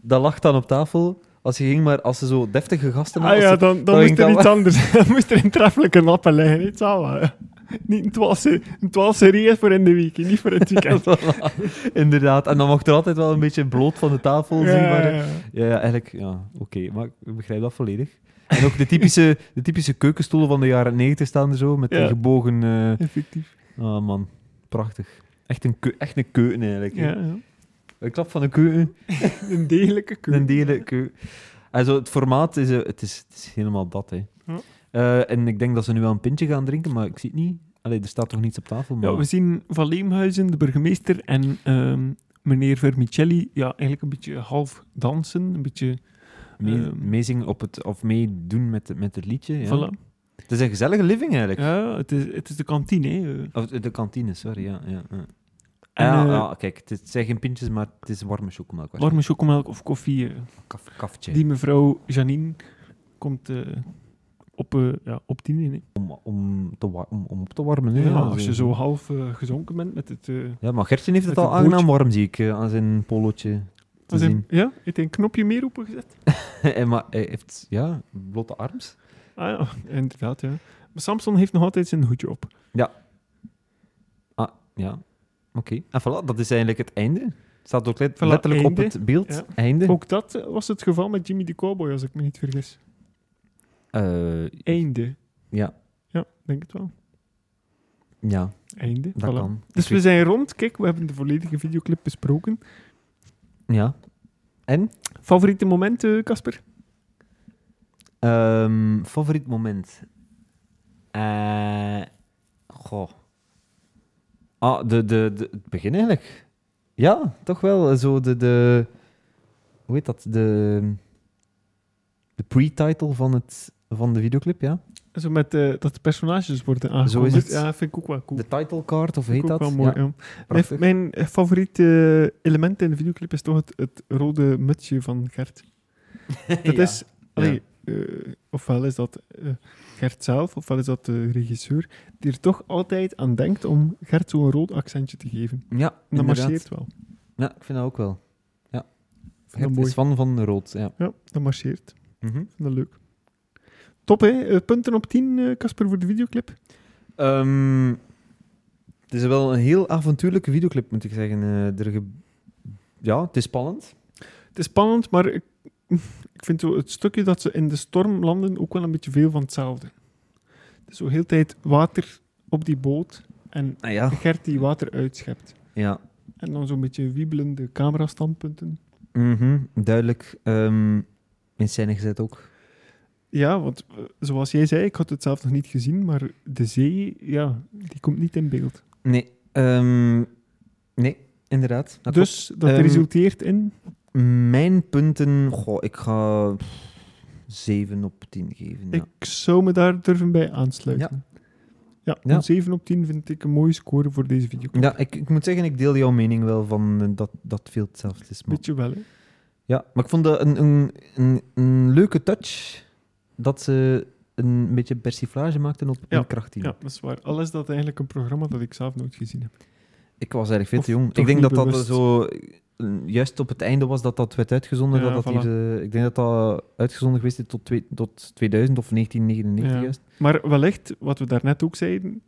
Dat lag dan op tafel. Als je ging, maar als ze zo deftige gasten
ah ja,
als ze-
dan, dan
dat
moest
ging
er
dan
iets anders. Dan moest er een treffelijke nappe liggen, hè. Het zal wel, ja. Niet een 12 serie- een 12 serie is voor in de week, hè, niet voor in het weekend.
Voilà, Inderdaad. En dan mocht er altijd wel een beetje bloot van de tafel zien. Maar, eh,
ja.
ja, ja, eigenlijk, ja, oké. Maar ik begrijp dat volledig. En ook de typische, de typische keukenstoelen van de jaren 90 staan er zo, met die
Ja.
gebogen... eh,
Effectief.
Ah, man. Prachtig. Echt een, keu- echt een keuken, eigenlijk. hè.
Ja, ja.
Een klap van een keuken,
Een degelijke keuze.
een delen keuken. En zo, het formaat is, eh, het is, het is helemaal dat, hè.
Ja.
Eh, en ik denk dat ze nu wel een pintje gaan drinken, maar ik zie het niet. Allee, er staat toch niets op tafel? Maar...
Ja, we zien Van Leemhuizen, de burgemeester, en ehm, meneer Vermicelli ja, eigenlijk een beetje half dansen. Een beetje,
Mee-
ehm,
meezingen op het, of meedoen met, het- met het liedje. Ja.
voilà.
Het is een gezellige living, eigenlijk.
ja, het, is, het is de kantine. Hè. eh.
Of de kantine, sorry. Ja, ja, ja.
En
ja,
eh,
ja, kijk, het is- het zijn geen pintjes, maar het is warme chocomelk.
warme chocomelk of koffie. eh.
Kaf, kaftje.
Die mevrouw Janine komt eh, op, eh, ja, op tien in. hè.
Om, om, te wa- om, om op te warmen. hè.
Ja,
Ja,
als je zo half eh, gezonken bent met het... eh,
Ja, maar Gertje heeft het
Met
al
een
aangenaam
bootje.
warm, zie ik, eh, aan zijn polootje te
was hij-
zien.
ja, heeft hij een knopje meer opengezet?
en maar hij heeft, ja, blote arms.
Ah ja, inderdaad, ja. Maar Samson heeft nog altijd zijn hoedje op.
Ah, ja. Oké. En voilà, dat is eigenlijk het einde. staat ook let-
Voilà,
letterlijk
einde.
op het beeld.
Ja.
Einde.
Ook dat eh, was het geval met Jimmy de Cowboy, als ik me niet vergis.
Eh,
Einde.
Ja.
Ja, denk het wel.
ja,
Einde,
dat
voilà.
kan.
Dus
Ik
we zijn rond. Kijk, we hebben de volledige videoclip besproken.
weet- Ja. En?
Favoriete momenten, Casper?
Ehm, favoriet moment? Eh, goh. Ah, de, de, de, het begin eigenlijk. Ja, toch wel. eh, Zo de... de hoe heet dat? De, de pre-title van, het, van de videoclip, ja.
Zo met eh, dat de personages worden aangekondigd.
is het.
Ja, vind ik ook wel cool.
De title card, of heet
Vind ik
dat?
ook wel mooi,
ja,
ja. Mijn,
prachtig.
mijn eh, favoriete element in de videoclip is toch het, het rode mutsje van Gert. Dat
Ja.
is, allee, eh, ofwel is dat eh, Gert zelf, ofwel is dat de regisseur, die er toch altijd aan denkt om Gert zo'n rood accentje te geven.
Ja,
En dat
inderdaad.
marcheert wel.
Ja, ik vind dat ook wel. Ja. Het
dat mooi. Mhm.
is van van rood, ja.
Ja, dat marcheert. Ik vind dat leuk. Top, hè? Eh, punten op 10, eh, Casper, voor de videoclip.
Ehm, het is wel een heel avontuurlijke videoclip, moet ik zeggen. Eh, er ge- Ja, het is spannend.
Het is spannend, maar ik, ik vind zo het stukje dat ze in de storm landen ook wel een beetje veel van hetzelfde. Het is zo heel de tijd water op die boot en
Ah, ja.
Gert die water uitschept.
ja.
En dan zo'n beetje wiebelende camerastandpunten.
Mhm, Duidelijk ehm, in scène gezet ook.
Ja, want eh, zoals jij zei, ik had het zelf nog niet gezien, maar de zee, ja, die komt niet in beeld.
Nee, ehm, nee inderdaad. dat
dus dat
Ehm,
resulteert in...
klopt. Mijn punten, goh, ik ga 7 op 10 geven. Ja.
Ik zou me daar durven bij aansluiten. Ja,
Ja.
een 7 op 10 vind ik een mooie score voor deze videoclip.
Ja, ik, ik moet zeggen, ik deel jouw mening wel van eh, dat, dat veel hetzelfde is. maar-
Beetje wel, hè?
Ja, maar ik vond dat een, een, een, een leuke touch dat ze een beetje persiflage maakten op
Ja,
een krachtteam.
Ja, dat is waar. Al is dat eigenlijk een programma dat ik zelf nooit gezien heb.
Ik was erg veel te
Of
jong.
toch
Ik denk
niet
dat dat
bewust.
zo eh, juist op het einde was dat dat werd uitgezonden.
Ja,
dat dat
voilà.
hier, eh, ik denk dat dat uitgezonden geweest is tot, twee- tot 2000 of 1999
Ja.
juist.
Maar wellicht, wat we daarnet ook zeiden,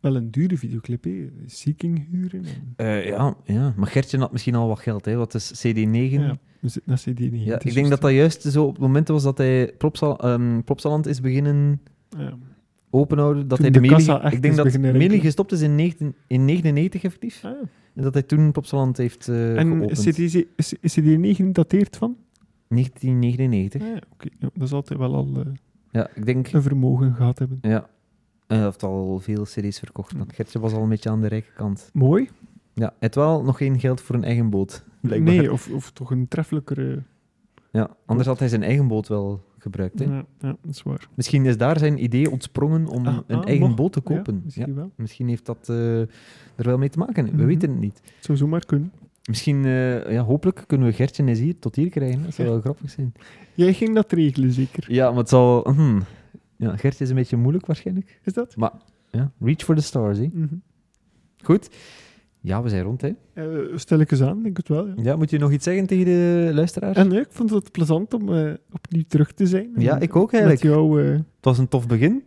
wel een dure videoclip, hè? Seeking huren. en-
Eh, ja, ja, maar Gertje had misschien al wat geld, hè, want het is CD9.
Ja,
Ja.
we zitten naar CD9.
ik denk dat dat juist zo op het moment was dat hij Propsal, ehm, Propsaland is beginnen
Ja.
openhouden. Dat
Toen
hij de,
de
mailing-
kassa echt
Ik denk
is
dat
beginnen
mailing
rinkelen.
gestopt is in 1999 effectief.
Ah, ja.
En dat hij toen Popsaland heeft eh
en
geopend.
CD, CD9 dateert van?
1999.
Ah, ja, oké. Ja, dat zal altijd wel al eh,
Ja, ik denk...
een vermogen gehad hebben.
Ja. En hij heeft al veel cd's verkocht. want Gertje was al een beetje aan de rijke kant.
Mooi.
Ja, hij heeft wel nog geen geld voor een eigen boot, blijkbaar.
Nee, of, of toch een treffelijkere... eh,
Ja, anders had hij zijn eigen boot wel gebruikt. Hè?
Ja, ja, dat is waar.
Misschien is daar zijn idee ontsprongen om
Ah,
een
ah,
eigen
mocht.
boot te
Ja,
kopen. Ja,
misschien wel.
misschien heeft dat eh, er wel mee te maken. We
Mhm.
weten het niet.
Het zou zomaar kunnen.
Misschien, eh, ja, hopelijk kunnen we Gertje eens hier tot hier krijgen. Dat zou wel grappig zijn.
Jij ging dat regelen, zeker?
Ja, maar het zal... hm. Ja, Gertje is een beetje moeilijk waarschijnlijk.
Is dat?
Ja, reach for the stars, hè.
Mhm.
Goed. Ja, we zijn rond, hè.
Eh, stel ik eens aan, denk het wel, ja.
Ja, moet je nog iets zeggen tegen de luisteraars?
En nee, ik vond het plezant om eh, opnieuw terug te zijn. En
Ja, ik ook eigenlijk.
Met jou, eh,
Het was een tof begin.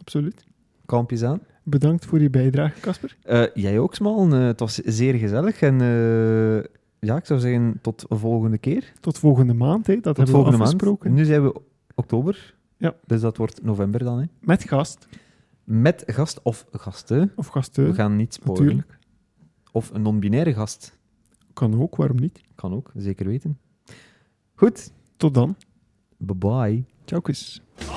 absoluut.
Kampjes aan.
Bedankt voor je bijdrage, Casper.
Eh, jij ook, Smal. Eh, het was zeer gezellig. En eh, ja, ik zou zeggen tot de volgende keer.
Tot volgende maand, hè. dat
tot
hebben
volgende
we
maand.
afgesproken.
Nu zijn we oktober.
Ja.
Dus dat wordt november dan, hè.
Met gast,
Met gast of gasten.
of
We
gasten,
gaan niet spoilen.
natuurlijk.
Of een non-binaire gast.
Kan ook, waarom niet?
Kan ook, zeker weten. Goed.
Tot dan.
Bye-bye.
Ciao, kus.
Oh